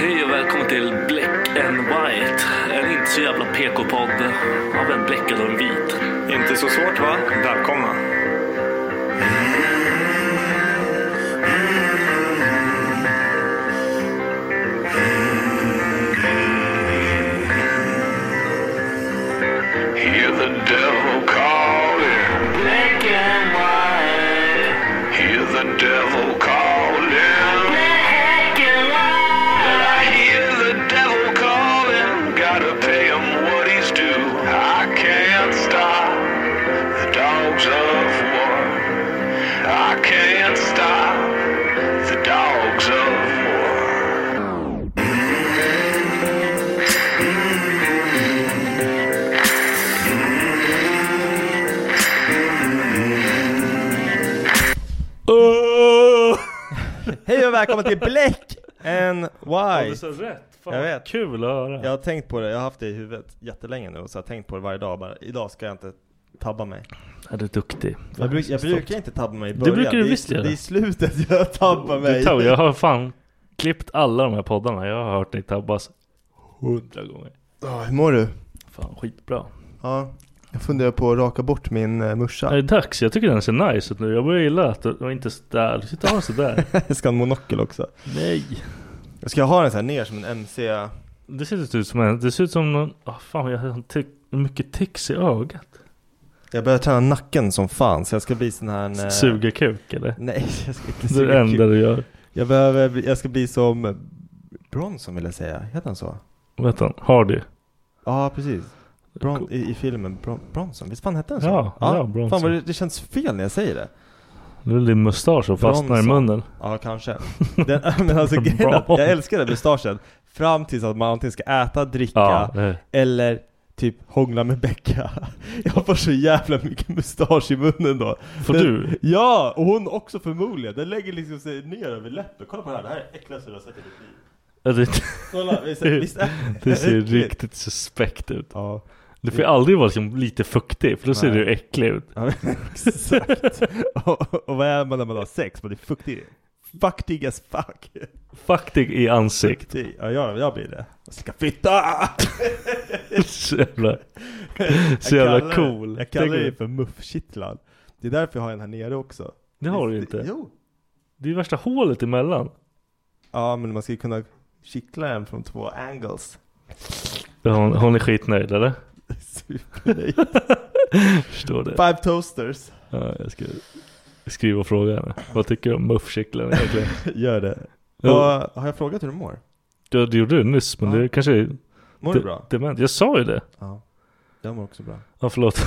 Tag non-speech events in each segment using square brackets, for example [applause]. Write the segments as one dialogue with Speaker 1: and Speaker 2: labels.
Speaker 1: Hej och välkommen till Black and White. En inte så jävla PK-podd av en bläckad och en vit.
Speaker 2: Inte så svårt va? Välkomna.
Speaker 3: Hear the devil calling. Black and white. Hear the devil calling. Black and white. I hear the devil calling. Gotta pay him what he's due. I can't stop the dogs of war. I can't stop the dogs of war.
Speaker 4: Hej och välkommen till Black and
Speaker 1: Ja, det
Speaker 4: White!
Speaker 1: är rätt. Fan,
Speaker 4: Jag vet.
Speaker 1: Kul att höra.
Speaker 4: Jag har tänkt på det, jag har haft det i huvudet jättelänge nu och så har jag tänkt på det varje dag bara, idag ska jag inte tabba mig.
Speaker 1: Är du duktig?
Speaker 4: Jag, bruk, jag brukar inte tabba mig i
Speaker 1: brukar
Speaker 4: början,
Speaker 1: du
Speaker 4: det, är-
Speaker 1: visst göra.
Speaker 4: det är i slutet jag tabbar mig.
Speaker 1: Du tar, jag har fan klippt alla de här poddarna. Jag har hört dig tabbas hundra gånger.
Speaker 4: Ja, hur mår du?
Speaker 1: Fan skitbra.
Speaker 4: Ja, jag funderar på att raka bort min uh,
Speaker 1: Det
Speaker 4: morsa.
Speaker 1: är dags. Jag tycker den ser nice ut nu. Jag börjar gilla att du inte där. Du sitter och har den sådär.
Speaker 4: jag [laughs] ska ha en monokel också.
Speaker 1: [laughs] Nej.
Speaker 4: Jag ska ha den så här ner som en MC.
Speaker 1: Det ser ut som en. Det ser ut som någon. ah fan jag har ty- mycket tics i ögat.
Speaker 4: Jag börjar träna nacken som fan så jag ska bli sån här... en, eh,
Speaker 1: Suger kuk eller?
Speaker 4: Nej, [laughs] jag ska inte
Speaker 1: Det är
Speaker 4: suga
Speaker 1: det
Speaker 4: kuk.
Speaker 1: enda du gör.
Speaker 4: Jag behöver, bli- jag ska bli som Bronson vill jag säga, heter han så?
Speaker 1: Vet han? Har du?
Speaker 4: Ja, precis. Bron,
Speaker 1: Cool.
Speaker 4: i, I filmen Bron, Bronson, visst fan hette den så?
Speaker 1: Ja, ja, Bronson.
Speaker 4: Fan vad det, det känns fel när jag säger det.
Speaker 1: Det är din mustasch som fastnar i
Speaker 4: Bronson.
Speaker 1: munnen.
Speaker 4: Ja,
Speaker 1: [laughs]
Speaker 4: kanske. Den, [laughs] men alltså grejen är att jag älskar den mustaschen. Fram tills att man antingen ska äta, dricka
Speaker 1: Ja. eh. det är-
Speaker 4: eller typ hångla med Becka. [laughs] Jag får så jävla mycket mustasch i munnen då.
Speaker 1: Får
Speaker 4: den,
Speaker 1: du?
Speaker 4: Ja, och hon också förmodligen. Den lägger liksom sig ner över läppen. Kolla på det här, det här är det äckligaste jag har sett i mitt liv.
Speaker 1: Ja, det-
Speaker 4: Kolla, visst,
Speaker 1: [laughs]
Speaker 4: visst är
Speaker 1: Det ser
Speaker 4: äckligt?
Speaker 1: riktigt suspekt ut.
Speaker 4: Ja.
Speaker 1: Du får ju aldrig vara liksom lite fuktig för då ser
Speaker 4: Nej.
Speaker 1: du äcklig ut.
Speaker 4: Ja, men [laughs] exakt. och, och vad är man när man har sex? Man är fuktig. Fuktig as fuck.
Speaker 1: Faktig i ansikt.
Speaker 4: Fuktig. Ja, jag, jag blir det. Jag ska fitta!
Speaker 1: [laughs] Så jävla,
Speaker 4: Jag
Speaker 1: så jävla
Speaker 4: kallar
Speaker 1: cool.
Speaker 4: Det, jag kallar
Speaker 1: Tänk-
Speaker 4: det för muffkittlad. Det är därför jag har den här nere också.
Speaker 1: det har du inte.
Speaker 4: Jo.
Speaker 1: Det är värsta hålet emellan.
Speaker 4: Ja, men man ska ju kunna kittla den från två angles.
Speaker 1: Hon, hon är skitnöjd eller?
Speaker 4: Supernöjd.
Speaker 1: [laughs] Förstår det.
Speaker 4: Five toasters.
Speaker 1: Ja, jag ska skriva och fråga henne. Vad tycker du om muffkycklarna egentligen?
Speaker 4: Gör det.
Speaker 1: Jo.
Speaker 4: Vad- har jag frågat hur du mår?
Speaker 1: Ja, det gjorde du nyss men det
Speaker 4: Ja.
Speaker 1: kanske är
Speaker 4: Mår du bra?
Speaker 1: dement. Jag sa ju det.
Speaker 4: Ja. Jag mår också bra.
Speaker 1: Ja förlåt.
Speaker 4: [laughs]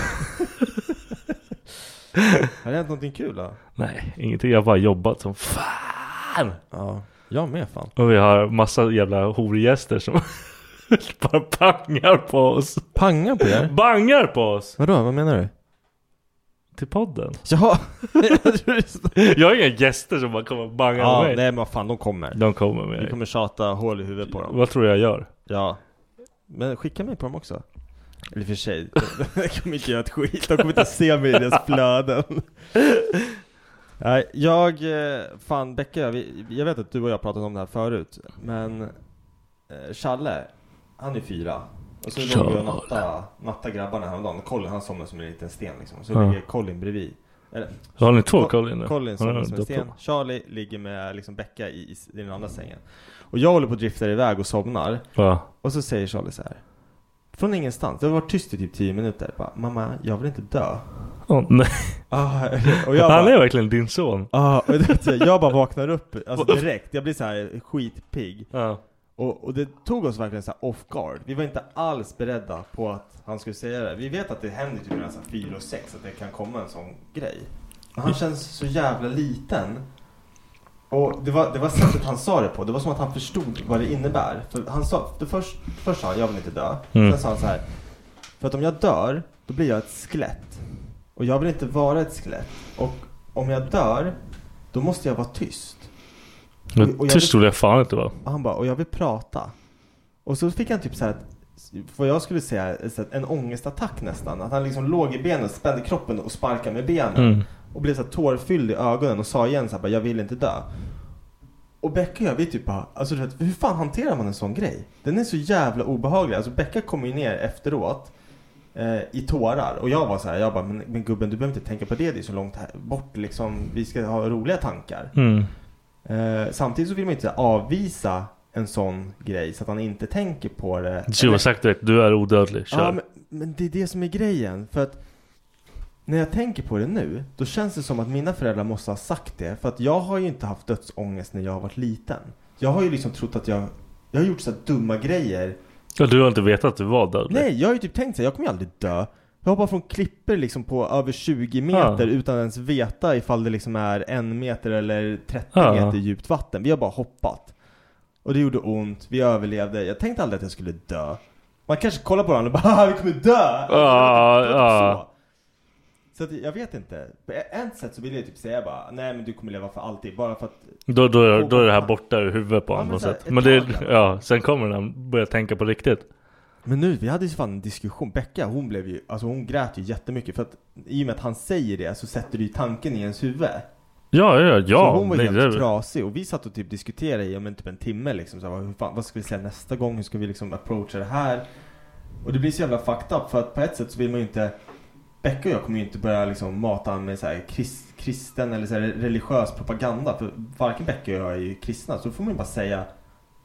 Speaker 4: Har det hänt någonting kul då?
Speaker 5: [laughs] Nej, ingenting. Jag har bara jobbat som fan.
Speaker 4: Ja, jag med fan.
Speaker 5: Och vi har massa jävla horgäster som [laughs] bara pangar på oss.
Speaker 4: Panga på er?
Speaker 5: Bangar på oss!
Speaker 4: Vadå, vad menar du?
Speaker 5: Till podden.
Speaker 4: Jaha! [laughs]
Speaker 5: Jag har inga gäster som bara kommer och bangar
Speaker 4: ja,
Speaker 5: med
Speaker 4: nej
Speaker 5: mig.
Speaker 4: men vad fan, de kommer.
Speaker 5: De kommer med
Speaker 4: Vi
Speaker 5: mig.
Speaker 4: kommer tjata hål i huvudet på dem.
Speaker 5: Vad tror du jag gör?
Speaker 4: Ja. Men skicka mig på dem också. Eller i och för [laughs] sig, de kommer inte göra ett skit. De kommer inte se mig i [laughs] deras flöden. Nej, jag, eh, fan Becka, vi, jag vet att du och jag pratat om det här förut. Men eh, Challe, han är fyra. Och så låg vi och natta, natta grabbarna häromdagen. Colin han somnade som en liten sten liksom. Så
Speaker 5: Ja.
Speaker 4: ligger Colin bredvid. Eller,
Speaker 5: Har ni två
Speaker 4: Co-
Speaker 5: Colin nu?
Speaker 4: Colin
Speaker 5: Ja,
Speaker 4: somnar som
Speaker 5: då
Speaker 4: en sten. Charlie ligger med liksom Becka i, i den andra sängen. Och jag håller på att drifta iväg och somnar.
Speaker 5: Ja.
Speaker 4: Och så säger Charlie så här. Från ingenstans, det har varit tyst i typ 10 minuter. Bara, Mamma, jag vill inte dö.
Speaker 5: Åh, nej.
Speaker 4: Ah, och jag
Speaker 5: Han
Speaker 4: bara,
Speaker 5: är verkligen din son.
Speaker 4: ah, och det, vet jag, jag bara vaknar upp alltså direkt. Jag blir så här skitpigg.
Speaker 5: Ja.
Speaker 4: Och, och det tog oss verkligen så här off guard. Vi var inte alls beredda på att han skulle säga det. Vi vet att det händer typ mellan 4 och 6 att det kan komma en sån grej. Men
Speaker 5: Mm.
Speaker 4: han känns så jävla liten. Och det var, det var sättet han sa det på. Det var som att han förstod vad det innebär. För han sa, det först, först sa han jag vill inte dö.
Speaker 5: Mm.
Speaker 4: Sen sa han så här. För att om jag dör, då blir jag ett skelett. Och jag vill inte vara ett skelett. Och om jag dör, då måste jag vara tyst. Och- och jag-
Speaker 5: Tyst trodde jag fan inte var.
Speaker 4: Och han bara, och jag vill prata. Och så fick han typ så här, att- vad jag skulle säga, så här, en ångestattack nästan. Att han liksom låg i benen, spände kroppen och sparkade med benen.
Speaker 5: Mm.
Speaker 4: Och blev så här tårfylld i ögonen och sa igen så här, bara, jag vill inte dö. Och Becka och jag, vi typ bara, alltså du vet, hur fan hanterar man en sån grej? Den är så jävla obehaglig. Alltså Becka kom ju ner efteråt eh, i tårar. Och jag var så här, jag bara, men, men gubben du behöver inte tänka på det, det är så långt här, bort liksom. Vi ska ha roliga tankar.
Speaker 5: Mm.
Speaker 4: Eh, samtidigt så vill man ju inte avvisa en sån grej så att han inte tänker på det.
Speaker 5: Du har sagt direkt, du är odödlig. Kör.
Speaker 4: ja, men, men det är det som är grejen. För att när jag tänker på det nu, då känns det som att mina föräldrar måste ha sagt det. För att jag har ju inte haft dödsångest när jag har varit liten. Jag har ju liksom trott att jag, jag har gjort så här dumma grejer
Speaker 5: Ja, Du har inte vetat att du var dödlig.
Speaker 4: Nej, jag har ju typ tänkt såhär, jag kommer ju aldrig dö. Jag hoppar från klippor liksom på över 20 meter
Speaker 5: Ja.
Speaker 4: utan ens veta ifall det liksom är en meter eller 30
Speaker 5: Ja.
Speaker 4: meter djupt vatten. Vi har bara hoppat. Och det gjorde ont, vi överlevde. Jag tänkte aldrig att jag skulle dö. Man kanske kollar på varandra och bara [laughs] "Haha, vi kommer dö! Alltså,
Speaker 5: Ja,
Speaker 4: [laughs] typ
Speaker 5: ja.
Speaker 4: Så. så att jag vet inte. På ett sätt så vill jag typ säga bara, nej men du kommer leva för alltid. Bara för att
Speaker 5: Då, då, är- då är det här borta ur huvudet på
Speaker 4: Ja,
Speaker 5: honom
Speaker 4: men
Speaker 5: på något
Speaker 4: så här,
Speaker 5: sätt.
Speaker 4: ett
Speaker 5: Men det,
Speaker 4: tag, ja.
Speaker 5: ja, sen kommer den börja tänka på riktigt.
Speaker 4: Men nu, vi hade ju fan en diskussion. Becka, hon blev ju, alltså hon grät ju jättemycket för att i och med att han säger det så sätter du ju tanken i ens huvud.
Speaker 5: Ja, ja, ja.
Speaker 4: så hon var ju
Speaker 5: nej,
Speaker 4: helt
Speaker 5: det-
Speaker 4: trasig och vi satt och typ diskuterade i om en- typ en timme liksom. Så här, hur fan, vad ska vi säga nästa gång? Hur ska vi liksom approacha det här? Och det blir så jävla fucked up för att på ett sätt så vill man ju inte Becka och jag kommer ju inte börja liksom mata honom med så här kris, kristen eller så här religiös propaganda. För varken Becka och jag är ju kristna. Så då får man ju bara säga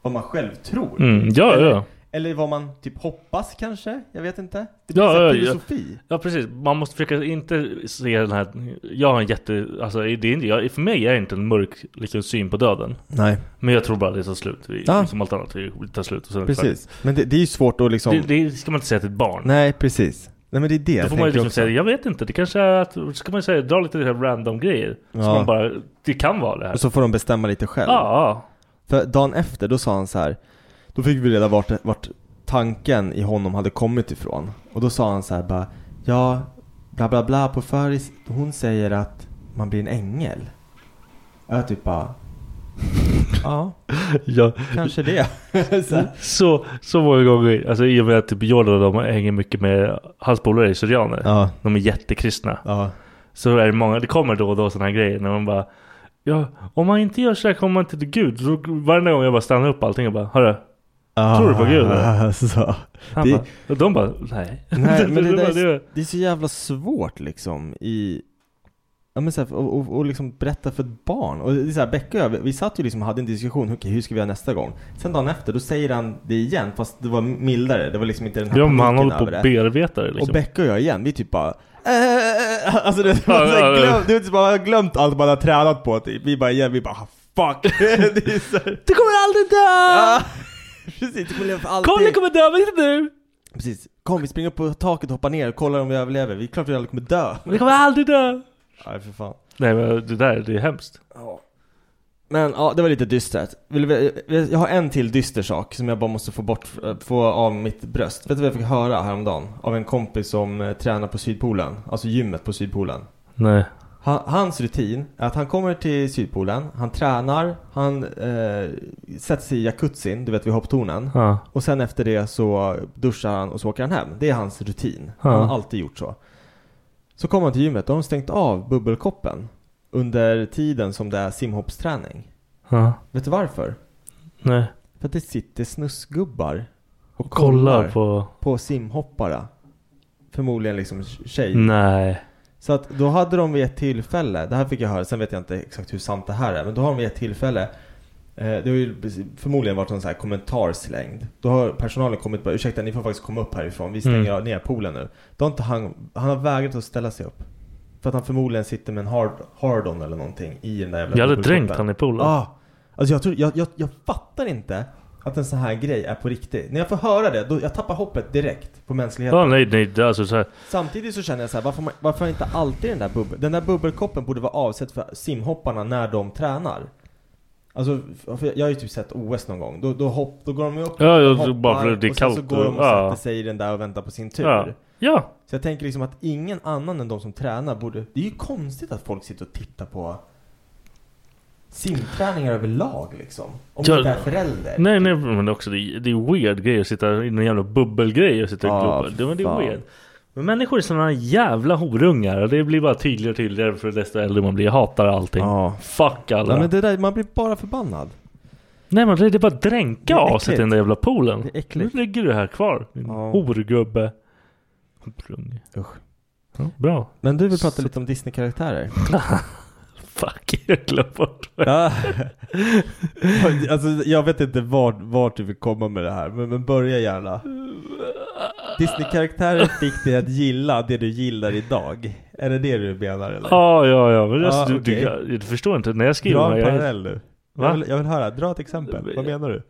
Speaker 4: vad man själv tror.
Speaker 5: Mm, ja,
Speaker 4: Eller-
Speaker 5: ja.
Speaker 4: eller vad man typ hoppas kanske? Jag vet inte. Det blir
Speaker 5: Ja,
Speaker 4: så här
Speaker 5: ja, ja.
Speaker 4: filosofi.
Speaker 5: Ja precis, man måste försöka inte se den här Jag har en jätte, alltså det är inte, jag, för mig är det inte en mörk liksom, syn på döden
Speaker 4: Nej,
Speaker 5: Men jag tror bara det tar slut, vi,
Speaker 4: Ja.
Speaker 5: som allt annat, vi tar slut och sen är det
Speaker 4: precis. Men det, det är ju svårt att liksom...
Speaker 5: klart. det, det ska man inte säga till ett barn
Speaker 4: Nej, precis. Nej men det är det
Speaker 5: Då
Speaker 4: jag
Speaker 5: får man ju
Speaker 4: tänker
Speaker 5: liksom
Speaker 4: också.
Speaker 5: säga, jag vet inte, det kanske är att, så kan man säga, dra lite här random grejer Så
Speaker 4: Ja.
Speaker 5: man bara, det kan vara det här
Speaker 4: Och så får de bestämma lite själv.
Speaker 5: Ja,
Speaker 4: För dagen efter, då sa han så här. Då fick vi reda vart, vart tanken i honom hade kommit ifrån. Och då sa han så här bara. Ja, bla bla bla på föris. Hon säger att man blir en ängel. Och jag typ bara. Ja,
Speaker 5: ja.
Speaker 4: kanske det. [laughs] så här.
Speaker 5: Så, så många gånger, alltså i och med att typ Jordan och de hänger mycket med, hans polare är syrianer
Speaker 4: Ja,
Speaker 5: De är jättekristna
Speaker 4: ja.
Speaker 5: Så är det många, det kommer då och då sådana här grejer när man bara Ja, om man inte gör så här kommer man inte till Gud. Så varenda gång jag bara stannar upp allting och bara Hörru. Tror du på Gud, eller?
Speaker 4: Alltså.
Speaker 5: Han
Speaker 4: Det-
Speaker 5: bara, och de bara nej. [laughs]
Speaker 4: Nej, men det,
Speaker 5: bara,
Speaker 4: där är,
Speaker 5: det-
Speaker 4: det är så jävla svårt liksom i Ja men så här, och, och, och liksom berätta för ett barn. Och det är så här, Becka och jag, vi- vi satt ju liksom och hade en diskussion, okej hur ska vi göra nästa gång? Sen dagen efter, då säger han det igen fast det var mildare, det var liksom inte den här
Speaker 5: Ja, men han håller
Speaker 4: paniken
Speaker 5: på
Speaker 4: över
Speaker 5: och
Speaker 4: det.
Speaker 5: bearbetar det,
Speaker 4: Och
Speaker 5: liksom.
Speaker 4: Becka och jag igen, vi typ bara "Eh", [laughs]
Speaker 5: [laughs]
Speaker 4: Alltså du vet, man
Speaker 5: Ja,
Speaker 4: så här
Speaker 5: ja, ja.
Speaker 4: glöm- du vet, man har glömt allt man har tränat på typ. Vi bara igen, vi bara fuck! [laughs] det är så här,
Speaker 5: Du kommer aldrig
Speaker 4: ah.
Speaker 5: dö!
Speaker 4: [laughs] Precis, det kommer leva för alltid.
Speaker 5: Kom, du kommer dö, men inte nu!
Speaker 4: Precis. Kom vi springer upp på taket och hoppar ner och kollar om vi överlever. Vi är klart vi aldrig kommer dö.
Speaker 5: Du kommer aldrig dö!
Speaker 4: Nej för fan.
Speaker 5: Nej men det där, det är hemskt.
Speaker 4: Men ja, det var lite dystert. Vill vi, jag har en till dyster sak som jag bara måste få bort, eh, få av mitt bröst. Vet du vad jag fick höra häromdagen? Av en kompis som eh, tränar på Sydpolen, alltså gymmet på Sydpolen.
Speaker 5: Nej.
Speaker 4: Ha- Hans rutin är att han kommer till Sydpolen, han tränar, han eh, sätter sig i jacuzzin, du vet vid hopptornen.
Speaker 5: Ja.
Speaker 4: Och sen efter det så duschar han och så åker han hem. Det är hans rutin.
Speaker 5: Ja.
Speaker 4: Han har alltid gjort så. Så kommer han till gymmet, då har de stängt av bubbelkoppen under tiden som det är simhoppsträning.
Speaker 5: Ja.
Speaker 4: Vet du varför?
Speaker 5: Nej.
Speaker 4: För att det sitter snuskgubbar och
Speaker 5: Kollar på...
Speaker 4: på simhoppare. Förmodligen liksom tjejer.
Speaker 5: Nej.
Speaker 4: Så att då hade de vid ett tillfälle, det här fick jag höra, sen vet jag inte exakt hur sant det här är, men då har de vid ett tillfälle eh, det har ju förmodligen varit någon sån här kommentar slängd. Då har personalen kommit och bara ursäkta ni får faktiskt komma upp härifrån, vi
Speaker 5: Mm.
Speaker 4: stänger ner poolen nu. Då har inte han, han har vägrat att ställa sig upp. För att han förmodligen sitter med en hard, hard-on eller någonting i den där jävla
Speaker 5: Jag hade
Speaker 4: bubbelkoppen.
Speaker 5: dränkt han i poolen.
Speaker 4: Ah, alltså jag, tror, jag, jag, jag fattar inte att en sån här grej är på riktigt. När jag får höra det, då, jag tappar hoppet direkt på mänskligheten.
Speaker 5: Ja, nej, nej, det är alltså så här.
Speaker 4: Samtidigt så känner jag så här, varför, man, varför inte alltid den där bubbel... Den där bubbelkoppen borde vara avsedd för simhopparna när de tränar. Alltså, för jag har ju typ sett OS någon gång. Då, då, hopp, då går de ju upp
Speaker 5: Ja, ja,
Speaker 4: hoppar,
Speaker 5: bara för att det är
Speaker 4: och sen så
Speaker 5: kallt
Speaker 4: går de och
Speaker 5: och- ja.
Speaker 4: sätter sig i den där och väntar på sin tur.
Speaker 5: Ja. ja.
Speaker 4: Så jag tänker liksom att ingen annan än de som tränar borde... Det är ju konstigt att folk sitter och tittar på simträningar överlag liksom. Om
Speaker 5: Ja.
Speaker 4: man inte är förälder.
Speaker 5: Nej, nej, men det är också det är, det är weird grejer att sitta i en jävla bubbelgrej och sitta och
Speaker 4: Ja,
Speaker 5: gloppa. Det, men det är
Speaker 4: Ah, fan.
Speaker 5: weird. Men människor är sådana jävla horungar och det blir bara tydligare och tydligare för desto äldre man blir. Jag hatar allting.
Speaker 4: Ja.
Speaker 5: Fuck alla.
Speaker 4: Ah. Ja, men det där, man blir bara förbannad.
Speaker 5: Nej men det det är bara att dränka
Speaker 4: Det är
Speaker 5: aset i den där jävla poolen.
Speaker 4: Det är äckligt. Ah.
Speaker 5: Nu ligger du här kvar. Din
Speaker 4: Ja.
Speaker 5: horgubbe. Horunge.
Speaker 4: Usch.
Speaker 5: Ja, bra.
Speaker 4: Men du vill prata lite om Disney-karaktärer.
Speaker 5: Fuck, jag glömde bort.
Speaker 4: Ja. [laughs] alltså, jag vet inte vart, vart du vill komma med det här, men, men börja gärna. Disney-karaktärer fick dig att gilla det du gillar idag. Är det det du menar eller?
Speaker 5: Ja, ja, ja. Men alltså,
Speaker 4: Ja,
Speaker 5: du, du,
Speaker 4: Ah, okej.
Speaker 5: jag, du förstår inte. När jag skriver
Speaker 4: Dra
Speaker 5: här,
Speaker 4: en
Speaker 5: jag,
Speaker 4: parallell nu.
Speaker 5: Va?
Speaker 4: Jag vill, jag vill höra, dra ett exempel. Vad menar du?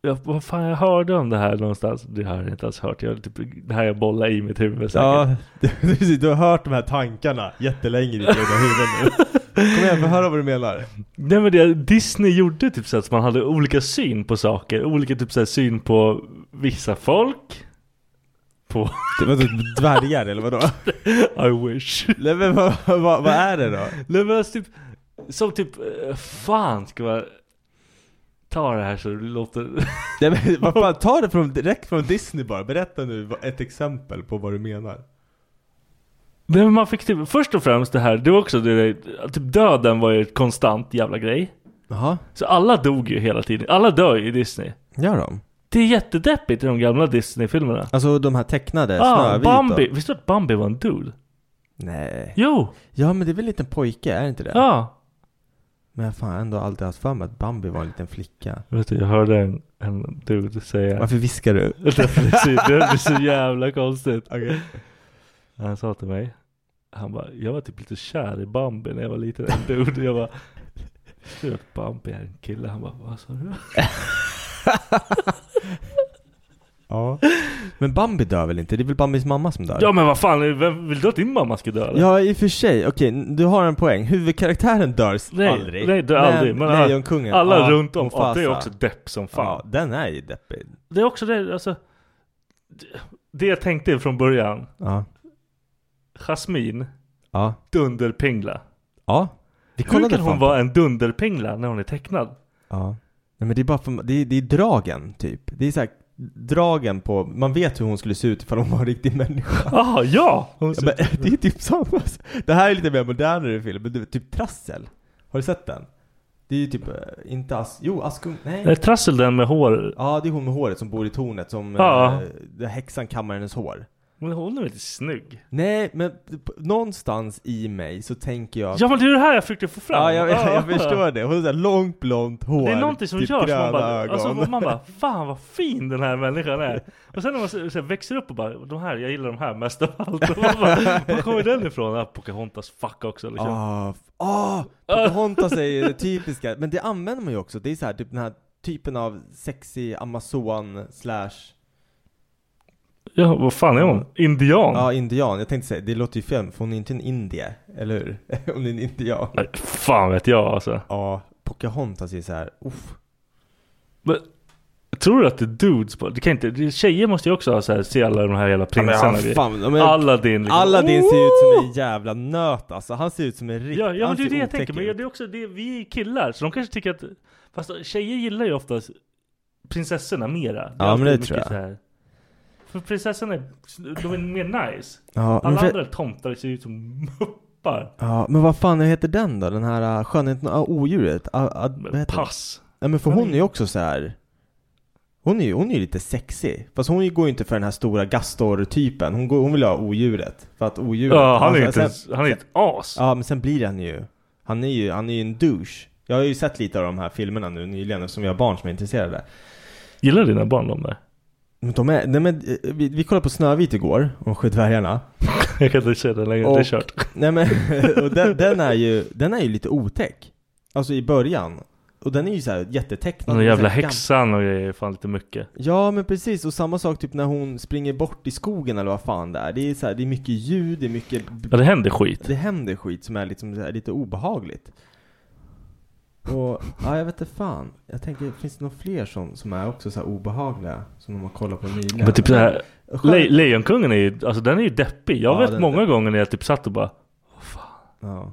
Speaker 5: jag, vad fan jag hörde om det här någonstans. Det har jag inte alls hört. Jag, har typ, det här jag bollar i mitt huvud säkert.
Speaker 4: Ja, [laughs] du, du har hört de här tankarna jättelänge i ditt egna huvud nu. Kom igen, få höra vad du menar.
Speaker 5: Nej men det Disney gjorde typ så att man hade olika syn på saker. Olika typ så här syn på vissa folk. På [laughs]
Speaker 4: Det var typ dvärgar eller vadå?
Speaker 5: I wish.
Speaker 4: Nej men vad, vad, vad är det då?
Speaker 5: Nej men alltså typ, som typ, eh, fan ska man ta det här så det låter... [laughs]
Speaker 4: Nej, men, vad [laughs] fan, ta det från, direkt från Disney bara. Berätta nu vad- ett exempel på vad du menar.
Speaker 5: Nej men man fick typ, först och främst det här, det var också det där, typ döden var ju ett konstant jävla grej.
Speaker 4: Jaha,
Speaker 5: Så alla dog ju hela tiden, alla dör ju i Disney.
Speaker 4: gör de?
Speaker 5: Det är jättedeppigt i de gamla Disney-filmerna.
Speaker 4: Alltså de här tecknade,
Speaker 5: Ja, ah, Bambi. Visste du att Bambi var en dude?
Speaker 4: Nej.
Speaker 5: Jo!
Speaker 4: Ja men det är väl en liten pojke, är det inte det?
Speaker 5: Ja! Ah.
Speaker 4: Men jag har fan ändå alltid haft för mig att Bambi var en liten flicka.
Speaker 5: Vet du, jag hörde en, en dude säga...
Speaker 4: Varför viskar du?
Speaker 5: Därför det är så- [laughs] det är så jävla konstigt.
Speaker 4: [laughs] Okej.
Speaker 5: Han sa till mig Han bara, jag var typ lite kär i Bambi när jag var liten en dude Jag bara Visste du att Bambi är en kille? Han bara, vad sa du?
Speaker 4: Ja. Men Bambi dör väl inte? Det är väl Bambis mamma som dör?
Speaker 5: Ja men vad fan, vem, vill du att din mamma ska dö eller?
Speaker 4: Ja, i och för sig. Okej, n- du har en poäng. Huvudkaraktären dör s-
Speaker 5: Nej,
Speaker 4: aldrig.
Speaker 5: nej, dör aldrig. Men alla-
Speaker 4: Lejonkungen.
Speaker 5: Alla
Speaker 4: ja,
Speaker 5: runt om, ja, det är
Speaker 4: Mufasa.
Speaker 5: också depp som fan
Speaker 4: Ja, den är ju deppig.
Speaker 5: Det är också det, alltså det- Det jag tänkte från början
Speaker 4: Ja.
Speaker 5: Jasmine,
Speaker 4: Ja.
Speaker 5: dunderpingla
Speaker 4: Ja. Vi
Speaker 5: Hur
Speaker 4: kollade
Speaker 5: kan
Speaker 4: fan
Speaker 5: hon
Speaker 4: på-
Speaker 5: vara en dunderpingla när hon är tecknad?
Speaker 4: Ja. Nej men det är bara för, det är, det är dragen typ. Det är så här, dragen på, man vet hur hon skulle se ut ifall hon var en riktig människa.
Speaker 5: Ah, ja! Hon
Speaker 4: Ja,
Speaker 5: ser-
Speaker 4: men, [laughs] det är typ samma. Det här är lite mer modernare film, men du vet, typ Trassel. Har du sett den? Det är ju typ, eh, inte Ask, jo Askung,
Speaker 5: Är
Speaker 4: nej.
Speaker 5: Trassel den med hår?
Speaker 4: Ja det är hon med håret som bor i tornet som,
Speaker 5: Ja.
Speaker 4: eh, där häxan kammar hennes hår.
Speaker 5: Men hon är väl inte snygg?
Speaker 4: Nej men p- någonstans i mig så tänker jag
Speaker 5: Ja men det är det här jag försökte få fram!
Speaker 4: Ja, jag, jag,
Speaker 5: [laughs] Ah.
Speaker 4: jag förstår det. Hon har såhär långt blont hår,
Speaker 5: Det är någonting som
Speaker 4: typ
Speaker 5: görs, man
Speaker 4: gröna
Speaker 5: bara,
Speaker 4: ögon.
Speaker 5: alltså, man
Speaker 4: [laughs]
Speaker 5: bara Fan vad fin den här människan är! Och sen när man så, så här, växer upp och bara de här, Jag gillar de här mest av allt Och man bara, Var kommer den ifrån? Ah, Pocahontas fuck också liksom
Speaker 4: Ah, f- ah, Pocahontas är ju det typiska, men det använder man ju också. Det är så här, typ den här typen av sexy amazon slash
Speaker 5: Ja, vad fan är hon? Indian?
Speaker 4: Ja, indian. Jag tänkte säga, det låter ju fel, för hon är inte en indie, eller hur? [laughs] Om det är en indian.
Speaker 5: Nej, fan vet jag alltså.
Speaker 4: Ja, Pocahontas är så här, uff.
Speaker 5: Men, tror du att det är dudes på? Det kan inte, det- tjejer måste ju också ha så här, se alla de här jävla prinsarna.
Speaker 4: ja,
Speaker 5: Ja,
Speaker 4: fan, ja, men-
Speaker 5: Aladdin. Liksom.
Speaker 4: Aladdin ser ut som en jävla nöt alltså. Han ser ut som en riktig...
Speaker 5: Ja, ja men
Speaker 4: han
Speaker 5: det är
Speaker 4: ser
Speaker 5: det jag tänker.
Speaker 4: otäcker
Speaker 5: Men
Speaker 4: ut.
Speaker 5: det är också det, vi är killar, så de kanske tycker att... Fast tjejer gillar ju oftast prinsessorna mera. är
Speaker 4: Ja, men
Speaker 5: alltid
Speaker 4: det
Speaker 5: mycket
Speaker 4: tror jag.
Speaker 5: så här- För prinsessorna, är, de är mer nice.
Speaker 4: Ja, men
Speaker 5: alla
Speaker 4: för-
Speaker 5: andra tomtar ser ut som muppar.
Speaker 4: Ja, men vad fan heter den då? Den här uh, skönheten och odjuret? Uh, uh, vad heter
Speaker 5: Pass.
Speaker 4: Den? Ja, men för hon är ju också så här. Hon är ju hon är ju lite sexig. Fast hon går ju inte för den här stora gastor-typen. Hon, går- hon vill ha odjuret. För att odjuret... Alltså,
Speaker 5: Ja, han är ju inte...
Speaker 4: sen-
Speaker 5: ens- Han är ett as.
Speaker 4: Ja, men sen blir han ju... Han är ju, han är ju en douche. Jag har ju sett lite av de här filmerna nu nyligen eftersom vi har barn som är intresserade.
Speaker 5: Gillar dina barn de där?
Speaker 4: Men de är, nej men, eh, vi, vi kollade på Snövit igår, om Sjödvärgarna.
Speaker 5: [laughs] Jag kan inte säga det längre, det är kört.
Speaker 4: Nej men, [laughs] och den, den, är ju, den är ju lite otäck. Alltså i början. Och den är ju så här
Speaker 5: Den
Speaker 4: jättetecknad.
Speaker 5: där jävla
Speaker 4: Så här gam-
Speaker 5: häxan och grejer är fan lite mycket.
Speaker 4: Ja men precis, och samma sak typ när hon springer bort i skogen eller vad fan det är. Det är, så här, det är mycket ljud, det är mycket...
Speaker 5: Ja, det händer skit.
Speaker 4: Det händer skit som är liksom så här, lite obehagligt. Och, ja jag vet inte fan. Jag tänker, finns det några fler som, som är också så här obehagliga? Som de har kollat på nyligen?
Speaker 5: Men typ så här,
Speaker 4: Skön-
Speaker 5: Le Lejonkungen är ju, alltså den är ju deppig. Jag
Speaker 4: Ja, den
Speaker 5: vet
Speaker 4: är
Speaker 5: många
Speaker 4: deppig.
Speaker 5: gånger när jag typ satt och bara
Speaker 4: Ja.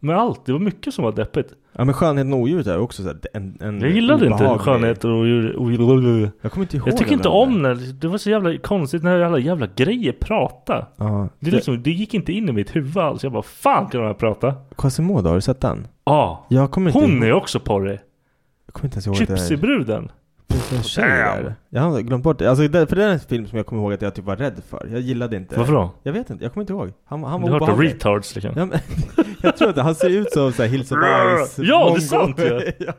Speaker 5: Men allt, det var mycket som var deppigt.
Speaker 4: ja men Skönheten och odjuret är också så här, en, en
Speaker 5: Jag gillade inte
Speaker 4: Mm. obehaglig-
Speaker 5: skönhet och odjur.
Speaker 4: Jag kommer inte ihåg
Speaker 5: Jag tycker
Speaker 4: den
Speaker 5: inte
Speaker 4: där.
Speaker 5: om när, det var så jävla konstigt när alla jävla grejer pratade.
Speaker 4: Ja.
Speaker 5: Det, är liksom, det gick inte in i mitt huvud alls. Jag bara, fan kan de här prata?
Speaker 4: Quasimodo, har du sett den?
Speaker 5: Ja,
Speaker 4: Jag kommer inte
Speaker 5: hon
Speaker 4: ihåg-
Speaker 5: är också porrig.
Speaker 4: Jag kommer inte ens ihåg att det är
Speaker 5: Gypsybruden.
Speaker 4: det är en tjej där. Jag har glömt bort det. Alltså, det- för det är en film som jag kommer ihåg att jag typ var rädd för. Jag gillade inte
Speaker 5: Varför då?
Speaker 4: Jag vet inte, jag kommer inte ihåg. Han, han
Speaker 5: Du
Speaker 4: var
Speaker 5: har hört
Speaker 4: obehaglig.
Speaker 5: retards liksom.
Speaker 4: Ja, men, [laughs] jag tror att han ser ut som såhär Hills of Ice
Speaker 5: Ja, det är
Speaker 4: mongo.
Speaker 5: sant ju.
Speaker 4: [laughs] ja.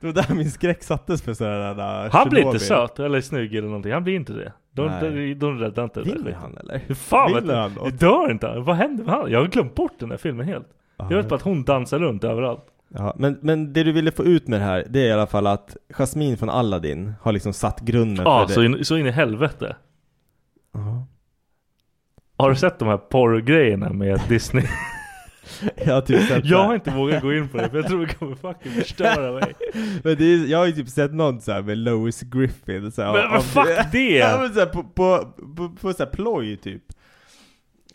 Speaker 4: Det var där min skräck sattes för äh, sådana där
Speaker 5: Han blir inte
Speaker 4: Shinobi.
Speaker 5: söt eller snygg eller någonting. Han blir inte det. De,
Speaker 4: Nej.
Speaker 5: de, de räddar inte det.
Speaker 4: Vinner
Speaker 5: liksom.
Speaker 4: han eller?
Speaker 5: Hur fan vet
Speaker 4: Vinner
Speaker 5: du?
Speaker 4: han
Speaker 5: Det
Speaker 4: något?
Speaker 5: dör inte han. Vad händer med han? Jag har glömt bort den här filmen helt. Jag vet bara att hon dansar runt överallt.
Speaker 4: Ja, men, men det du ville få ut med det här, det är i alla fall att Jasmine från Aladdin har liksom satt grunden
Speaker 5: Ja,
Speaker 4: för
Speaker 5: så,
Speaker 4: det.
Speaker 5: in, så in i helvete.
Speaker 4: Ja.
Speaker 5: Har du sett de här porrgrejerna
Speaker 4: [laughs]
Speaker 5: med Disney?
Speaker 4: Jag har typ sett
Speaker 5: jag
Speaker 4: det.
Speaker 5: har inte vågat gå in på det för jag tror det kommer fucking förstöra
Speaker 4: [laughs]
Speaker 5: mig.
Speaker 4: Men det är, jag har ju typ sett någon så här med Lois Griffin så här,
Speaker 5: Men vad fuck det!
Speaker 4: [laughs] Ja men så här, på, på, på, på så här ploj typ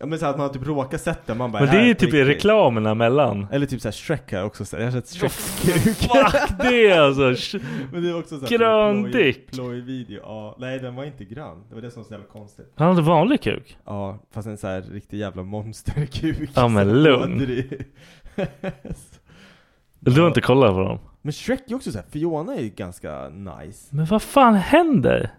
Speaker 4: Ja men så här, att man har typ råkat sett den, man bara
Speaker 5: Men det
Speaker 4: här
Speaker 5: är ju
Speaker 4: på
Speaker 5: typ i
Speaker 4: riktigt.
Speaker 5: reklamerna mellan.
Speaker 4: Eller typ såhär Shrek har jag också sett, jag har sett
Speaker 5: Vad
Speaker 4: Shrek-kuk
Speaker 5: Fuck det alltså! Sh-
Speaker 4: [laughs] Men det är också så här typ
Speaker 5: Grön
Speaker 4: ploj-
Speaker 5: dick.
Speaker 4: Ploj-video, ja Nej den var inte grön, det var det som var så jävla konstigt
Speaker 5: Han hade vanlig kuk.
Speaker 4: Ja, fast en så här riktig jävla monsterkuk
Speaker 5: Ja, men
Speaker 4: [laughs] Så här
Speaker 5: lugn.
Speaker 4: ådrig.
Speaker 5: Du har inte kollat på dem.
Speaker 4: Men Shrek är också såhär, Fiona är ju ganska nice
Speaker 5: Men vad fan händer?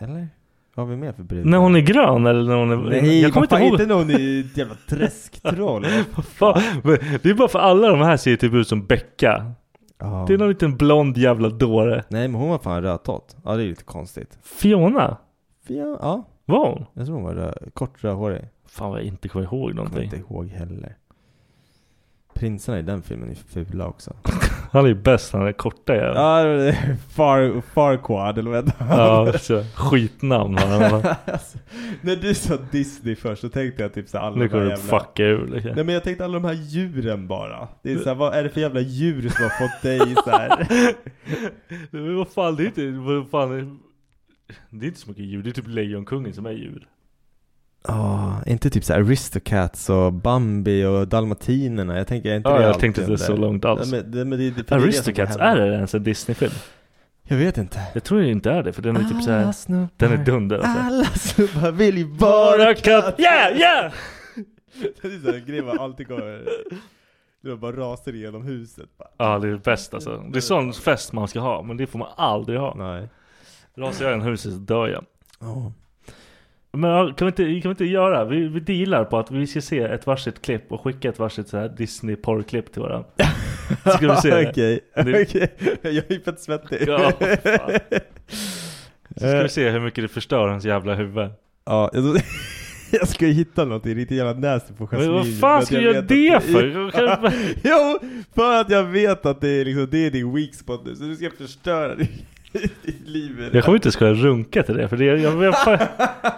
Speaker 4: Eller? Vad har vi mer för brud?
Speaker 5: När hon är grön eller när hon är...
Speaker 4: Nej,
Speaker 5: jag kommer inte ihåg.
Speaker 4: inte någon i ett jävla
Speaker 5: [laughs]
Speaker 4: träsktroll.
Speaker 5: Fan, men det är bara för alla de här ser typ ut som Becka.
Speaker 4: Ja.
Speaker 5: Det är någon liten blond jävla dåre.
Speaker 4: Nej men hon var fan rödtott. Ja det är lite konstigt.
Speaker 5: Fiona?
Speaker 4: Fia, ja,
Speaker 5: Var hon?
Speaker 4: jag tror hon var rö- kort rödhårig.
Speaker 5: Fan vad jag inte kommer ihåg
Speaker 4: Jag kommer
Speaker 5: någonting.
Speaker 4: inte ihåg heller. Prinsarna i den filmen är fula också.
Speaker 5: Han är ju bäst när han är korta jäveln. Ja,
Speaker 4: Ja, det är far, Farquad eller vad heter han?
Speaker 5: ja så, skitnamn har
Speaker 4: [laughs]
Speaker 5: han.
Speaker 4: Alltså, [laughs] När du sa Disney först så tänkte jag typ såhär alla
Speaker 5: Nu
Speaker 4: de här
Speaker 5: kommer du
Speaker 4: jävla...
Speaker 5: fucka ur liksom.
Speaker 4: Nej men jag tänkte alla de här djuren bara. Det är såhär, vad är det för jävla djur som har fått dig såhär?
Speaker 5: [laughs] Men vad fan, det är inte, vad fan, är- det är inte så mycket djur. Det är typ Lejonkungen som är djur.
Speaker 4: Ja, inte typ så här Aristocats och Bambi och Dalmatinerna? Jag tänker, är inte
Speaker 5: Ja,
Speaker 4: det
Speaker 5: jag
Speaker 4: alltid
Speaker 5: tänkte inte
Speaker 4: den
Speaker 5: så
Speaker 4: där?
Speaker 5: långt alls.
Speaker 4: Nej, men, det, men det, det, för det är det som
Speaker 5: Aristocats,
Speaker 4: händer.
Speaker 5: är det ens en Disney-film?
Speaker 4: Jag vet inte.
Speaker 5: Jag tror det inte är det, för den är typ såhär,
Speaker 4: snubbar,
Speaker 5: den är dunder alltså.
Speaker 4: alla snubbar vill ju
Speaker 5: Bara
Speaker 4: bara
Speaker 5: katt, yeah, yeah!
Speaker 4: [laughs] Det är såhär grejen man alltid kommer... Du bara raser igenom huset bara.
Speaker 5: Ja, det är bäst alltså. Det är sån fest man ska ha, men det får man aldrig ha.
Speaker 4: Nej.
Speaker 5: Rasar jag en huset så dör jag.
Speaker 4: Ja.
Speaker 5: Men ja, kan vi inte, kan vi inte göra? Vi, vi dealar på att vi ska se ett varsitt klipp och skicka ett varsitt så här disney porrklipp till varandra. Så ska [laughs] vi se det.
Speaker 4: [laughs] Okej,
Speaker 5: Det-
Speaker 4: okej. [laughs] Jag är ju fett svettig.
Speaker 5: Ja, fan. Så ska
Speaker 4: Eh.
Speaker 5: vi se hur mycket det förstör hans jävla huvud.
Speaker 4: [laughs] Ja, jag, [laughs] jag ska ju hitta någonting riktigt jävla nasty på Jasmine.
Speaker 5: Men vad
Speaker 4: för
Speaker 5: fan
Speaker 4: att
Speaker 5: ska du
Speaker 4: jag
Speaker 5: göra
Speaker 4: vet att-
Speaker 5: det för? Kan
Speaker 4: [laughs]
Speaker 5: du-
Speaker 4: Jo, för att jag vet att det är, liksom, det är din weak spot nu, så du ska förstöra [laughs] det. livet.
Speaker 5: Jag kommer inte skoja runka till det för det, jag, jag, jag, fa-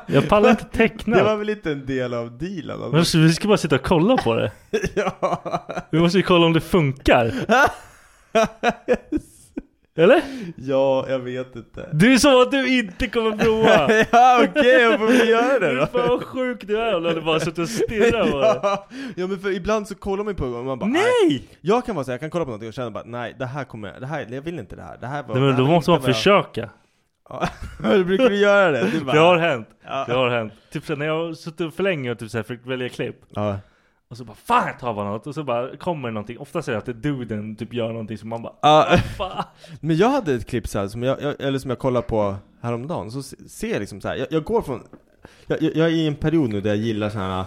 Speaker 5: jag pallar inte teckna. [laughs]
Speaker 4: Det var väl inte en del av dealen?
Speaker 5: Men alltså, vi ska bara sitta och kolla på det.
Speaker 4: [laughs]
Speaker 5: Vi måste ju kolla om det funkar. Eller?
Speaker 4: Ja, jag vet inte.
Speaker 5: [laughs] Det är som att du inte kommer [laughs] prova.
Speaker 4: [laughs] ja, okej, jag får väl göra
Speaker 5: [laughs]
Speaker 4: det då.
Speaker 5: Fan vad sjuk du är om du hade bara suttit och stirrat på det.
Speaker 4: [laughs] Ja, ja men för ibland så kollar man ju på det och man bara
Speaker 5: Nej!
Speaker 4: Jag kan vara så här, jag kan kolla på någonting och känna bara nej det här kommer, det här, jag vill inte det här, det här var
Speaker 5: Nej, men då måste man
Speaker 4: [laughs]
Speaker 5: försöka.
Speaker 4: försöka Brukar du göra det? Du bara,
Speaker 5: Det har hänt.
Speaker 4: Ja.
Speaker 5: Det har hänt. Typ så när jag har suttit för länge och typ så här försökt välja klipp.
Speaker 4: Ja.
Speaker 5: Och så bara fan jag tar bara något. Och så bara kommer det någonting. Ofta säger jag att det är duden typ gör någonting som man bara [laughs]
Speaker 4: Ja,
Speaker 5: fan.
Speaker 4: men jag hade ett klipp så här, som jag, jag, eller som jag kollade på häromdagen, så se- ser jag liksom så här, jag, jag går från, jag, jag jag är i en period nu där jag gillar såna här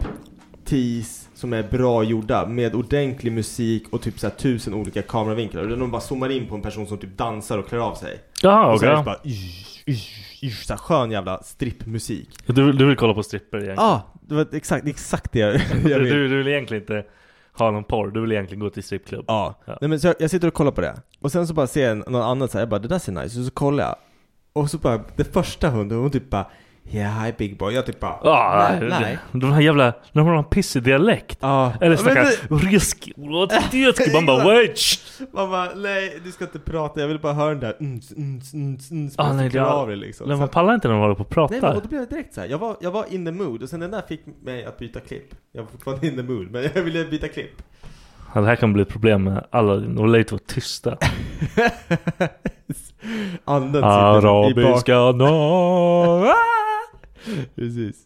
Speaker 4: striptease som är bra gjorda med ordentlig musik och typ så här tusen olika kameravinklar. Och de bara zoomar in på en person som typ dansar och klär av sig.
Speaker 5: Jaha
Speaker 4: Och så är
Speaker 5: okej.
Speaker 4: det bara ysch, ysch, ysch, så här skön jävla strippmusik.
Speaker 5: Du, du vill kolla på stripper egentligen?
Speaker 4: Ja, det var exakt, exakt
Speaker 5: [laughs]
Speaker 4: det jag, jag
Speaker 5: du,
Speaker 4: vill.
Speaker 5: du, du vill egentligen inte ha någon porr. Du vill egentligen gå till strippklubb.
Speaker 4: Ja.
Speaker 5: Ja.
Speaker 4: Nej, men så jag, jag sitter och kollar på det. Och sen så bara ser jag någon annan så här, jag bara det där ser nice ut. Så kollar jag. Och så bara, det första hunden, hon typ bara Yeah, hi big boy. Jag typ bara
Speaker 5: Ah,
Speaker 4: nej, nej.
Speaker 5: De här jävla, när de har en pissig dialekt.
Speaker 4: Ja.
Speaker 5: Eller
Speaker 4: Men
Speaker 5: snackar rysk.
Speaker 4: [laughs]
Speaker 5: Man bara
Speaker 4: Exakt.
Speaker 5: wait. shh."
Speaker 4: det- Man bara, nej du ska inte prata, jag vill bara höra den där uns, uns, uns, uns.
Speaker 5: Ah,
Speaker 4: Man
Speaker 5: nej,
Speaker 4: sticker
Speaker 5: jag-
Speaker 4: av det liksom.
Speaker 5: Men
Speaker 4: Så
Speaker 5: man
Speaker 4: att-
Speaker 5: pallar inte när de håller på och
Speaker 4: Nej men och
Speaker 5: pratar.
Speaker 4: då blev jag direkt så här. Jag var, jag var in the mood och sen den där fick mig att byta klipp. Jag var fortfarande in the mood men [laughs] jag ville
Speaker 5: [laughs]
Speaker 4: byta klipp.
Speaker 5: Ja, det här kan bli ett problem med alla. De lär inte vara
Speaker 4: [laughs]
Speaker 5: tysta.
Speaker 4: Anden
Speaker 5: Ah,
Speaker 4: sitter i bak. [laughs]
Speaker 5: Arabiska no.
Speaker 4: Precis.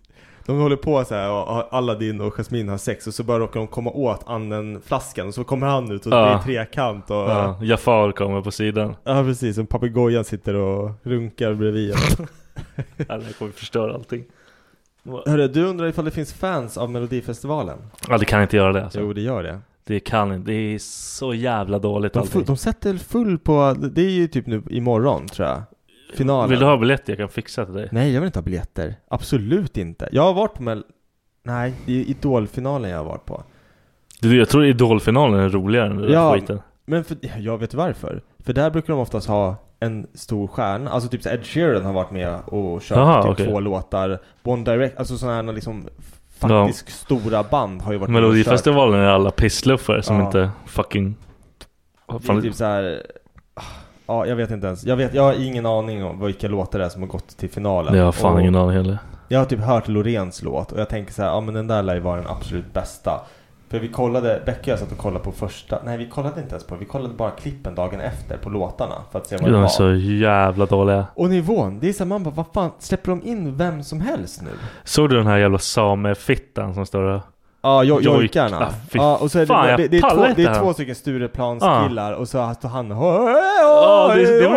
Speaker 4: De håller på så här och Aladdin och Jasmin har sex och så bara råkar de komma åt anden-flaskan och så kommer han ut och det
Speaker 5: Ja.
Speaker 4: blir trekant och... Ja,
Speaker 5: Ja, Jafar kommer på sidan.
Speaker 4: precis, och papegojan sitter och runkar bredvid
Speaker 5: Ja, det här kommer förstöra allting.
Speaker 4: Hörru, du undrar ifall det finns fans av Melodifestivalen?
Speaker 5: Ja, det kan inte göra det alltså.
Speaker 4: Jo det gör det
Speaker 5: Det kan inte. Det är så jävla dåligt
Speaker 4: de,
Speaker 5: allting.
Speaker 4: full, de sätter full på, det är ju typ nu imorgon tror jag Finalen
Speaker 5: Vill du ha biljetter? Jag kan fixa till dig.
Speaker 4: Nej jag vill inte ha biljetter, absolut inte Jag har varit på Mel... Nej, det är Idolfinalen jag har varit på
Speaker 5: Du, jag tror idolfinalen är roligare än den där
Speaker 4: Ja.
Speaker 5: skiten.
Speaker 4: Men för, jag vet varför. För där brukar de oftast ha en stor stjärna. Alltså typ så Ed Sheeran har varit med och kört
Speaker 5: Aha,
Speaker 4: typ
Speaker 5: okej.
Speaker 4: två låtar. One Direct, alltså sådana här liksom faktiskt stora band har ju varit med och kört.
Speaker 5: Melodifestivalen är alla pissluffare som
Speaker 4: Ja.
Speaker 5: inte fucking... Vad
Speaker 4: Det är
Speaker 5: Fan,
Speaker 4: typ så här. Ja, jag vet inte ens. Jag, vet, jag har ingen aning om vilka låtar det är som har gått till finalen.
Speaker 5: det har jag fan
Speaker 4: och
Speaker 5: ingen aning heller.
Speaker 4: Jag har typ hört Loreens låt och jag tänker så här, ja men den där lär ju vara den absolut bästa. För vi kollade, Becka och jag satt och kollade på första, nej vi kollade inte ens på det, vi kollade bara klippen dagen efter på låtarna för att se vad
Speaker 5: De
Speaker 4: det
Speaker 5: är
Speaker 4: var.
Speaker 5: så jävla dåliga.
Speaker 4: Och nivån, det är så här, man bara vad fan, släpper de in vem som helst nu?
Speaker 5: Såg du den här jävla samefittan som står där?
Speaker 4: Ja, jo,
Speaker 5: Jojk-
Speaker 4: jojkarna.
Speaker 5: Ah, fy
Speaker 4: ja, och så är det,
Speaker 5: fan, jag
Speaker 4: det, det, är
Speaker 5: pallar
Speaker 4: två,
Speaker 5: inte
Speaker 4: det
Speaker 5: det
Speaker 4: är
Speaker 5: här. Ah.
Speaker 4: två stycken Stureplanskillar och så står han Ja,
Speaker 5: Ja, det, det var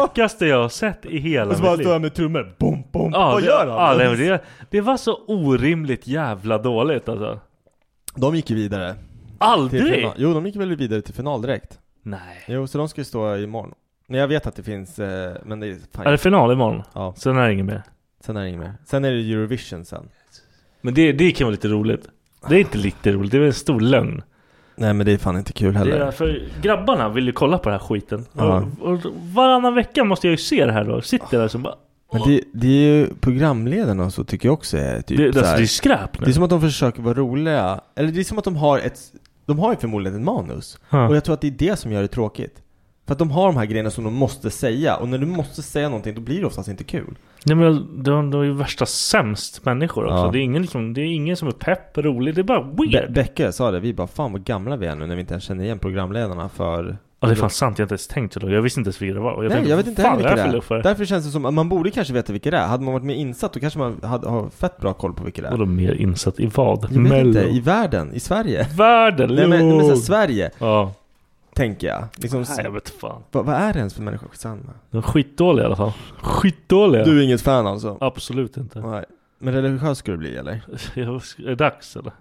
Speaker 5: det sjukaste jag har sett i hela
Speaker 4: Och så bara
Speaker 5: mitt
Speaker 4: står
Speaker 5: liv.
Speaker 4: han med trummor, bom, bom.
Speaker 5: Ja,
Speaker 4: vad
Speaker 5: det-
Speaker 4: gör han?
Speaker 5: ja, nej, men det, det var så orimligt jävla dåligt alltså.
Speaker 4: De gick ju vidare. Till
Speaker 5: Aldrig!
Speaker 4: final. Jo, de gick väl vidare till final direkt.
Speaker 5: Nej.
Speaker 4: Jo, så de ska ju stå imorgon. Men jag vet att det finns, eh, men det är fan.
Speaker 5: Är det final imorgon?
Speaker 4: Ja,
Speaker 5: Sen är det inget mer.
Speaker 4: sen är det inget mer. Sen är det Eurovision sen.
Speaker 5: Men det, det kan vara lite roligt. Det är inte lite roligt, det är väl en stor lögn.
Speaker 4: Nej men det är fan inte kul
Speaker 5: Det
Speaker 4: heller.
Speaker 5: är för grabbarna vill ju kolla på den här skiten.
Speaker 4: Ja.
Speaker 5: Och, och varannan vecka måste jag ju se det här då. Sitter där som bara...
Speaker 4: Men det, det är ju programledarna och så tycker jag också är typ
Speaker 5: Det,
Speaker 4: så
Speaker 5: alltså,
Speaker 4: här-
Speaker 5: det är ju skräp
Speaker 4: Det är
Speaker 5: nu.
Speaker 4: som att de försöker vara roliga, eller det är som att de har ett, de har ju förmodligen ett manus.
Speaker 5: Ja.
Speaker 4: Och jag tror att det är det som gör det tråkigt. För att de har de här grejerna som de måste säga, och när du måste säga någonting då blir det oftast inte kul.
Speaker 5: Nej, men de, de är ju värsta sämst människor också.
Speaker 4: Ja.
Speaker 5: Det, är ingen, liksom, det är ingen som är pepp, rolig. Det är bara
Speaker 4: Be-
Speaker 5: weird.
Speaker 4: Becka sa det, vi bara fan vad gamla vi är nu när vi inte ens känner igen programledarna för...
Speaker 5: ja, det är fan sant. Jag har inte ens tänkt så. då. Jag visste inte ens vilka det var. Och Jag
Speaker 4: Nej
Speaker 5: tänkte,
Speaker 4: jag vet inte
Speaker 5: "Fan,
Speaker 4: heller vilka det
Speaker 5: för
Speaker 4: är.
Speaker 5: luffare?"
Speaker 4: Därför känns det som, att man borde kanske veta vilka det är. Hade man varit mer insatt då kanske man hade, har fett bra koll på vilka det är.
Speaker 5: Vadå mer insatt i vad?
Speaker 4: Jag vet inte,
Speaker 5: Mello?
Speaker 4: i världen, i Sverige.
Speaker 5: Världen?
Speaker 4: Nej men, nej, men så här,
Speaker 5: lugn.
Speaker 4: Sverige,
Speaker 5: Ja.
Speaker 4: tänker jag. Liksom,
Speaker 5: Nej, jag vet fan.
Speaker 4: vad, vad är det ens för människa? Skitsamma.
Speaker 5: De är skitdåliga i alla fall. Skitdåliga.
Speaker 4: Du är inget fan alltså?
Speaker 5: Absolut inte.
Speaker 4: Nej. Men religiös skulle du bli eller?
Speaker 5: Jag- Är det dags eller?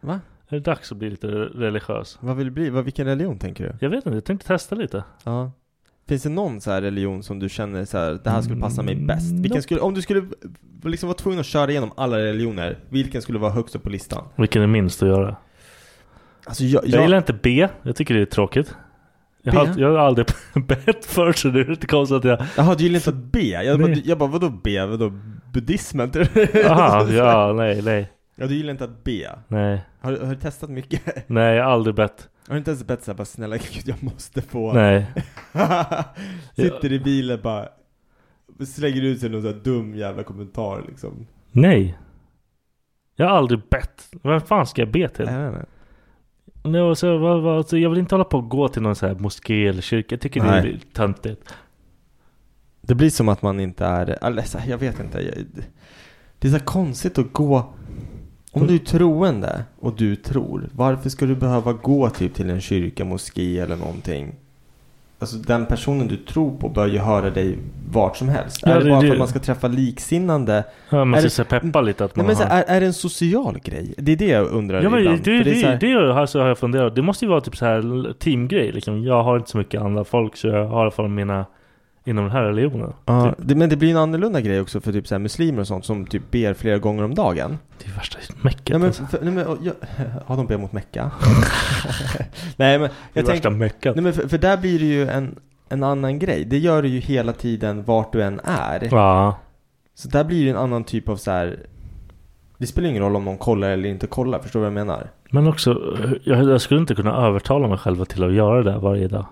Speaker 4: Va?
Speaker 5: Är det dags att bli lite religiös?
Speaker 4: Vad vill du bli? Vad, vilken religion tänker du?
Speaker 5: Jag vet inte, jag tänkte testa lite.
Speaker 4: Ja. Finns det någon så här religion som du känner så här, det här skulle passa mig bäst? Vilken
Speaker 5: Mm, nope.
Speaker 4: skulle, om du skulle v- liksom vara tvungen att köra igenom alla religioner, vilken skulle vara högst upp på listan?
Speaker 5: Vilken är minst att göra?
Speaker 4: Alltså jag,
Speaker 5: Jag gillar inte B, jag tycker det är tråkigt. Jag
Speaker 4: Be?
Speaker 5: har, jag har aldrig [laughs] bett förr så det är inte konstigt att jag...
Speaker 4: Jaha, du gillar inte att be? Jag, bara,
Speaker 5: Nej.
Speaker 4: jag bara, vadå be? Vadå buddhismen? [laughs]
Speaker 5: Aha, ja, nej, nej,
Speaker 4: ja, du gillar inte att be?
Speaker 5: nej.
Speaker 4: Har, du- har du testat mycket? [laughs]
Speaker 5: Nej, jag har aldrig bett.
Speaker 4: Har du inte ens bett såhär bara snälla gud jag måste få? [laughs]
Speaker 5: Nej.
Speaker 4: Sitter i bilen bara Slänger ut sig någon sån här dum jävla kommentar liksom
Speaker 5: Nej. Jag har aldrig bett. Vem fan ska jag be till?
Speaker 4: Nej, nej,
Speaker 5: Nej, och så, vad, vad, alltså, jag vill inte hålla på och gå till någon så här moské eller kyrka. Jag tycker det är
Speaker 4: Nej.
Speaker 5: töntigt.
Speaker 4: Det blir som att man inte är, eller så här, jag vet inte jag, Det är så här konstigt att gå Om du är troende och du tror Varför ska du behöva gå typ till en kyrka, moské eller någonting? Alltså den personen du tror på bör ju höra dig vart som helst
Speaker 5: Ja,
Speaker 4: Är det
Speaker 5: det-
Speaker 4: bara
Speaker 5: det-
Speaker 4: för att man ska träffa liksinnande?
Speaker 5: Ja, man ska
Speaker 4: Är det- Mm.
Speaker 5: så här peppa lite att man
Speaker 4: Nej, men så
Speaker 5: har...
Speaker 4: här, är, är det en social grej? Det är det jag undrar
Speaker 5: Ja men det,
Speaker 4: ibland
Speaker 5: det,
Speaker 4: För är så här-
Speaker 5: det, det alltså, har jag funderat Det måste ju vara typ så här teamgrej liksom. Jag har inte så mycket andra folk så jag har i alla fall mina Inom den här religionen
Speaker 4: Ja,
Speaker 5: typ.
Speaker 4: det, men det blir en annorlunda grej också för typ så här muslimer och sånt som typ ber flera gånger om dagen.
Speaker 5: Det är värsta mäcket
Speaker 4: Ja, men,
Speaker 5: alltså.
Speaker 4: för, nej, men, och jag, [laughs] ja, de ber mot Mecka. [laughs] nej men
Speaker 5: Det är
Speaker 4: jag
Speaker 5: värsta
Speaker 4: tänkte,
Speaker 5: mäcket
Speaker 4: nej, men för, för där blir det ju en, en annan grej. Det gör du ju hela tiden vart du än är.
Speaker 5: Ja
Speaker 4: Så där blir det en annan typ av så här. Det spelar ingen roll om någon kollar eller inte kollar, förstår du vad jag menar?
Speaker 5: Men också jag, jag skulle inte kunna övertala mig själv till att göra det varje dag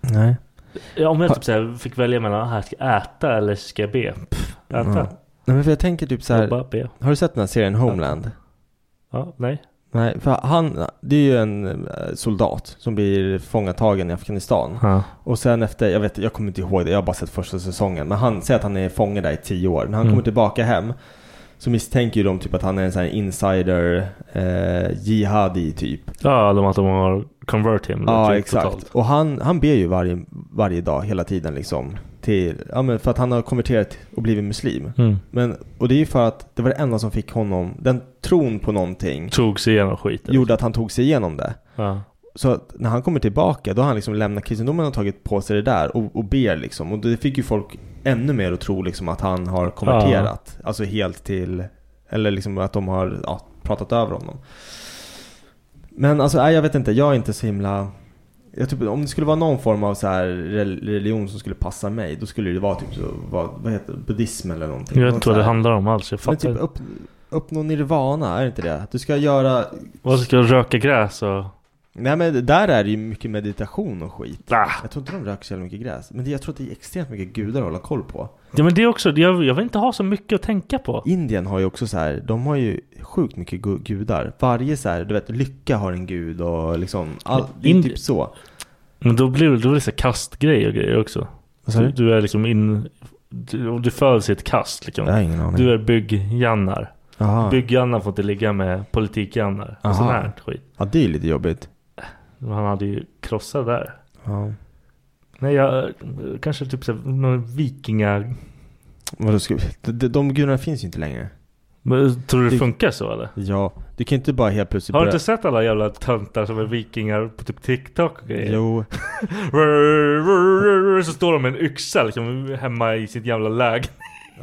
Speaker 4: Nej.
Speaker 5: Ja, Om jag
Speaker 4: Har-
Speaker 5: typ så här, fick välja mellan att här ska jag äta eller ska jag be Pff,
Speaker 4: Ja.
Speaker 5: Äta
Speaker 4: Nej men för jag tänker typ så
Speaker 5: Jag
Speaker 4: här.
Speaker 5: bara be
Speaker 4: Har du sett den här serien Homeland?
Speaker 5: Ja nej
Speaker 4: Nej, för han, det är ju en eh, soldat som blir fångatagen i Afghanistan.
Speaker 5: ja.
Speaker 4: Och sen efter, jag vet jag kommer inte ihåg det, jag har bara sett första säsongen. Men han säger att han är fånge där i tio år. När han
Speaker 5: Mm.
Speaker 4: kommer tillbaka hem så misstänker ju de typ att han är en sån här insider eh, jihadi typ.
Speaker 5: ja de att de har convert him
Speaker 4: Mm, Ja
Speaker 5: typ,
Speaker 4: exakt.
Speaker 5: totalt.
Speaker 4: Och han, han ber ju varje, varje dag hela tiden liksom. Till, ja, men för att han har konverterat och blivit muslim.
Speaker 5: Mm.
Speaker 4: Men, och det är ju för att det var det enda som fick honom, den tron på någonting
Speaker 5: Tog sig igenom skiten
Speaker 4: gjorde att han tog sig igenom det.
Speaker 5: ja.
Speaker 4: Så att när han kommer tillbaka då har han liksom lämnat kristendomen och tagit på sig det där och, och ber liksom. Och det fick ju folk ännu mer att tro liksom att han har konverterat. Alltså helt till, eller liksom att de har ja, pratat över honom. Men alltså nej, jag vet inte, jag är inte så himla... Jag typ, om det skulle vara någon form av så här rel- religion som skulle passa mig då skulle det vara typ så, vad, vad heter det, buddhism eller någonting.
Speaker 5: Jag vet
Speaker 4: Något
Speaker 5: inte vad
Speaker 4: så
Speaker 5: det
Speaker 4: här.
Speaker 5: handlar om alls Jag
Speaker 4: Men
Speaker 5: fattar
Speaker 4: typ
Speaker 5: inte
Speaker 4: upp, uppnå nirvana, är det inte det? Att Du ska göra...
Speaker 5: Vad ska jag röka gräs och...
Speaker 4: Nej men där är det ju mycket meditation och skit.
Speaker 5: Ah.
Speaker 4: Jag tror inte de röker så jävla mycket gräs. Men det, jag tror att det är extremt mycket gudar att hålla koll på.
Speaker 5: Ja men det är också, jag, jag vill inte ha så mycket att tänka på.
Speaker 4: Indien har ju också så här, de har ju sjukt mycket gu- gudar. Varje så här, du vet, lycka har en gud och liksom, all, det är
Speaker 5: Indi-
Speaker 4: typ så.
Speaker 5: Men då blir det, då blir det så här kastgrejer och grejer också.
Speaker 4: Vad sa du?
Speaker 5: Du är liksom in... Du, om du föds i ett kast liksom.
Speaker 4: Jag har ingen aning.
Speaker 5: Du är byggjannar.
Speaker 4: Aha.
Speaker 5: Byggjannar får inte ligga med politikjannar. Och
Speaker 4: Aha.
Speaker 5: sån här skit.
Speaker 4: Ja, det är ju lite jobbigt.
Speaker 5: Han hade ju krossat där.
Speaker 4: Ja.
Speaker 5: Nej jag, kanske typ så här, någon vikinga...
Speaker 4: Vadå, ska, vi- de, de gudarna finns ju inte längre.
Speaker 5: Men, tror du det
Speaker 4: Det-
Speaker 5: funkar så eller?
Speaker 4: Ja, du kan inte bara helt plötsligt
Speaker 5: Har du
Speaker 4: börja-
Speaker 5: inte sett alla jävla töntar som är vikingar på typ TikTok och grejer?
Speaker 4: Jo,
Speaker 5: Så står de med en yxa liksom hemma i sitt jävla läge.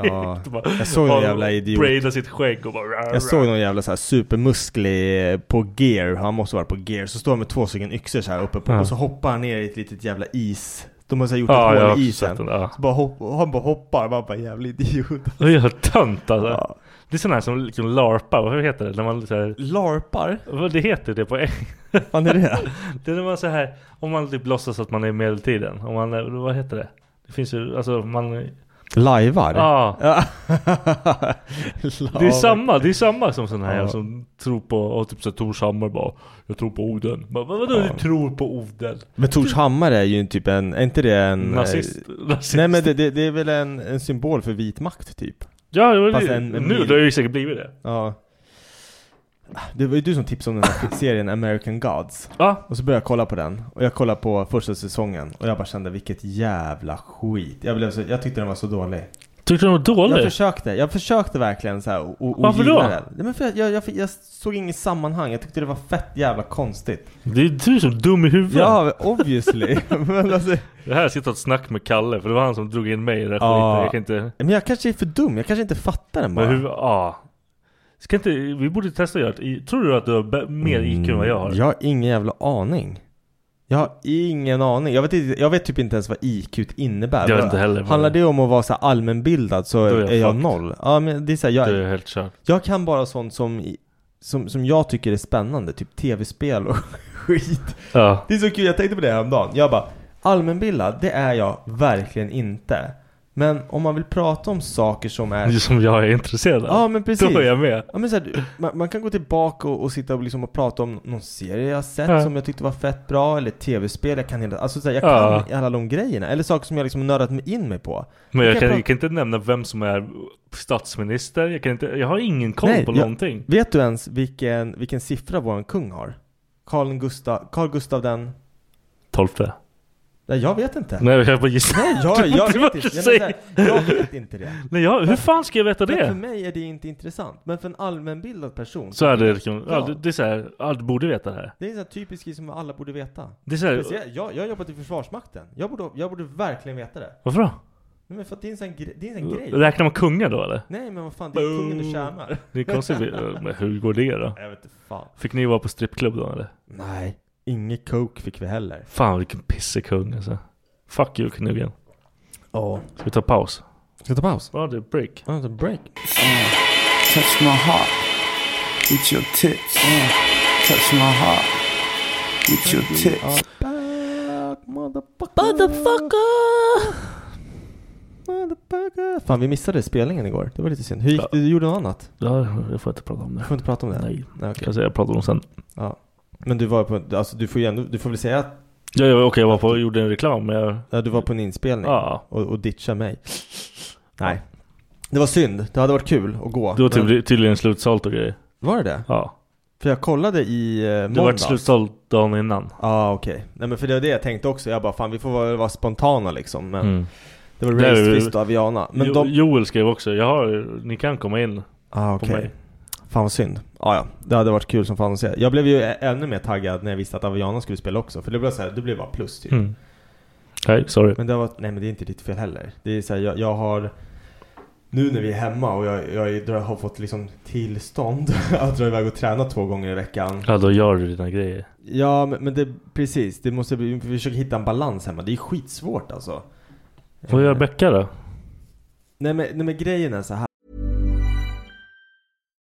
Speaker 4: ja.
Speaker 5: [laughs] De bara-
Speaker 4: Jag såg någon
Speaker 5: bara
Speaker 4: jävla idiot.
Speaker 5: braidar sitt skägg och bara...
Speaker 4: Jag såg någon jävla så här supermusklig eh, på gear, han måste vara på gear, så står han med två stycken yxor så här uppe på
Speaker 5: Ja.
Speaker 4: och så hoppar han ner i ett litet jävla is. De har så här gjort
Speaker 5: Ja,
Speaker 4: ett
Speaker 5: jag har
Speaker 4: hål i
Speaker 5: också sett
Speaker 4: isen.
Speaker 5: den. Ja.
Speaker 4: Så bara hopp, och han bara hoppar, man bara jävla idiot.
Speaker 5: Det är ju tönt alltså.
Speaker 4: Ja.
Speaker 5: Det är sån här som liksom larpa, vad heter det? När man så här,
Speaker 4: Larpar?
Speaker 5: vad det heter det på eng- [laughs]
Speaker 4: Fan är det?
Speaker 5: Det är när man så här, om man typ låtsas att man är i medeltiden. Om man, är- vad heter det? Det finns ju, alltså man...
Speaker 4: Lajvar?
Speaker 5: Ja.
Speaker 4: Ja.
Speaker 5: Det är samma, det är samma som sån här
Speaker 4: Ja.
Speaker 5: som tror på, och typ så här Tor Hammar bara Jag tror på Oden. Bara, vad, vadå du tror på Oden?
Speaker 4: Men Torshammar är ju en typ en, är inte det en... eh,
Speaker 5: Nazist? Rasist?
Speaker 4: Nej men det, det, det är väl en, en symbol för vit makt typ.
Speaker 5: Ja, det var
Speaker 4: Fast
Speaker 5: det,
Speaker 4: en- en
Speaker 5: nu
Speaker 4: mil.
Speaker 5: det har ju säkert blivit det.
Speaker 4: Ja. Det var ju du som tipsade om den
Speaker 5: [laughs]
Speaker 4: här serien American Gods.
Speaker 5: Ja,
Speaker 4: Och så började jag kolla på den och jag kollade på första säsongen och jag bara kände vilket jävla skit. Jag, blev så, jag tyckte den var så dålig.
Speaker 5: tyckte du den var
Speaker 4: Jag
Speaker 5: dålig?
Speaker 4: försökte, jag försökte verkligen så här och, och
Speaker 5: Varför
Speaker 4: gilla
Speaker 5: då?
Speaker 4: den. Nej, men för jag, jag, jag, jag såg inget sammanhang, jag tyckte det var fett jävla konstigt.
Speaker 5: Det är du som är dum i huvudet.
Speaker 4: Ja,
Speaker 5: [laughs]
Speaker 4: obviously. [laughs] men, alltså,
Speaker 5: Det här sitter ett snack med Kalle, för det var han som drog in mig i den här
Speaker 4: Ja.
Speaker 5: skiten. Jag kan inte...
Speaker 4: men jag kanske är för dum, jag kanske inte fattar den bara.
Speaker 5: Men hur, ja. Ska inte,
Speaker 4: Mm,
Speaker 5: vi borde testa att göra ett, i- tror du att du har be- mer IQ än vad jag har?
Speaker 4: Jag har ingen jävla aning. Jag har ingen aning. Jag vet, inte, jag vet typ inte ens vad IQ innebär.
Speaker 5: Jag vet inte heller.
Speaker 4: Handlar det om att vara så här allmänbildad så
Speaker 5: Då är
Speaker 4: är
Speaker 5: jag
Speaker 4: jag, jag
Speaker 5: fucked.
Speaker 4: noll. Ja, men det är så här, jag,
Speaker 5: Du är helt kört.
Speaker 4: jag kan bara sånt som, i- som, som jag tycker är spännande, typ tv-spel och [laughs] skit.
Speaker 5: Ja.
Speaker 4: Det är så kul, jag tänkte på det häromdagen. Jag bara, allmänbildad, det är jag verkligen inte. Men om man vill prata om saker som är...
Speaker 5: Det är Som jag är intresserad av.
Speaker 4: Ja men precis.
Speaker 5: Då är jag med.
Speaker 4: Ja, men så här, du- man, man kan gå tillbaka och, och sitta och, liksom och prata om någon serie jag har sett
Speaker 5: Ja.
Speaker 4: som jag tyckte var fett bra, eller tv-spel, jag kan hela, alltså så här, jag
Speaker 5: Ja.
Speaker 4: kan alla de grejerna. Eller saker som jag liksom har nördat mig in mig på.
Speaker 5: Men
Speaker 4: Då
Speaker 5: jag kan,
Speaker 4: prata-
Speaker 5: jag kan inte nämna vem som är statsminister. Jag, kan inte, jag har ingen koll
Speaker 4: Nej,
Speaker 5: på
Speaker 4: jag-
Speaker 5: någonting.
Speaker 4: Vet du ens vilken, vilken siffra vår kung har? Carl Gustav, Carl Gustav den?
Speaker 5: Tolfte.
Speaker 4: Nej, jag vet inte.
Speaker 5: Nej, jag bara gissar.
Speaker 4: Nej,
Speaker 5: [laughs]
Speaker 4: jag, jag, [laughs]
Speaker 5: Det var
Speaker 4: vet
Speaker 5: det jag
Speaker 4: inte. Jag, menar,
Speaker 5: säger.
Speaker 4: så här, jag vet inte det.
Speaker 5: Nej, jag, hur fan ska jag veta
Speaker 4: Men för
Speaker 5: det?
Speaker 4: mig är det inte intressant. Men för en allmänbildad person.
Speaker 5: Så är det liksom, ja,
Speaker 4: Ja.
Speaker 5: det, det är så här, ja, du borde veta det här.
Speaker 4: Det är en sån här typisk grej som alla borde veta.
Speaker 5: Det är så här,
Speaker 4: Speciellt, jag, jag har jobbat i Försvarsmakten. Jag borde, jag borde verkligen veta det.
Speaker 5: varför då?
Speaker 4: Nej, Men för att det är en sån, gre- det är en sån grej.
Speaker 5: Räknar man kungar då eller?
Speaker 4: Nej men vad fan, det är kungen du tjänar.
Speaker 5: Det är konstigt, [laughs] men hur går det då?
Speaker 4: Jag vet inte fan.
Speaker 5: Fick ni vara på strippklubb då eller?
Speaker 4: Nej, inget coke fick vi heller.
Speaker 5: Fan vilken pissekung alltså. Fuck you Knuggen.
Speaker 4: Ja.
Speaker 5: Ska vi ta paus?
Speaker 4: Ska vi ta paus?
Speaker 5: Ja det är break.
Speaker 4: Ja, ta break.
Speaker 6: Uh, Touch my heart with your tips. Uh, touch my heart with your tips.
Speaker 4: Back, motherfucker. Motherfucker. Motherfucker. Fan vi missade spelningen igår. Det var lite synd. Hur gick det? Du gjorde något annat?
Speaker 5: Ja, jag får inte prata om det.
Speaker 4: Du får inte prata om det?
Speaker 5: Nej.
Speaker 4: Nej okej.
Speaker 5: Alltså jag pratar om sen.
Speaker 4: Ja. Men du var på, alltså du får ju ändå, du får väl säga att
Speaker 5: Ja, ja, Okej jag var på och gjorde en reklam men jag...
Speaker 4: ja, du var på en inspelning?
Speaker 5: Ja.
Speaker 4: Och, och ditcha mig? Nej. Det var synd. Det hade varit kul att gå.
Speaker 5: Det var
Speaker 4: men-
Speaker 5: typ, tydligen slutsålt och grejer.
Speaker 4: Var det det?
Speaker 5: Ja.
Speaker 4: För jag kollade i eh,
Speaker 5: Det vart
Speaker 4: måndags.
Speaker 5: slutsålt dagen innan.
Speaker 4: Ja ah, okej. Nej men för det var det jag tänkte också. Jag bara fan vi får vara, vara spontana liksom. Men
Speaker 5: Mm.
Speaker 4: det var
Speaker 5: Det är
Speaker 4: Race
Speaker 5: ju-
Speaker 4: Fist och Aviana. Men
Speaker 5: jo,
Speaker 4: de...
Speaker 5: Joel skrev också, jag har, ni kan komma in.
Speaker 4: ah, okej.
Speaker 5: mig.
Speaker 4: Fan vad synd. Ah, ja, det hade varit kul som fan att se. Jag blev ju ä- ännu mer taggad när jag visste att Aviana skulle spela också. För det blev så här, det blev bara plus typ.
Speaker 5: Mm. Nej, sorry.
Speaker 4: Men det var, nej men det är inte ditt fel heller. Det är så här, jag, jag har nu när vi är hemma och jag, jag är- har fått liksom tillstånd [laughs] att dra iväg och träna två gånger i veckan.
Speaker 5: Ja, då gör du dina grejer.
Speaker 4: Ja men, men det, precis. Det måste, vi försöker hitta en balans hemma. Det är skitsvårt alltså.
Speaker 5: Vad
Speaker 4: Eh.
Speaker 5: gör Becka då?
Speaker 4: Nej men, nej men grejen är så här.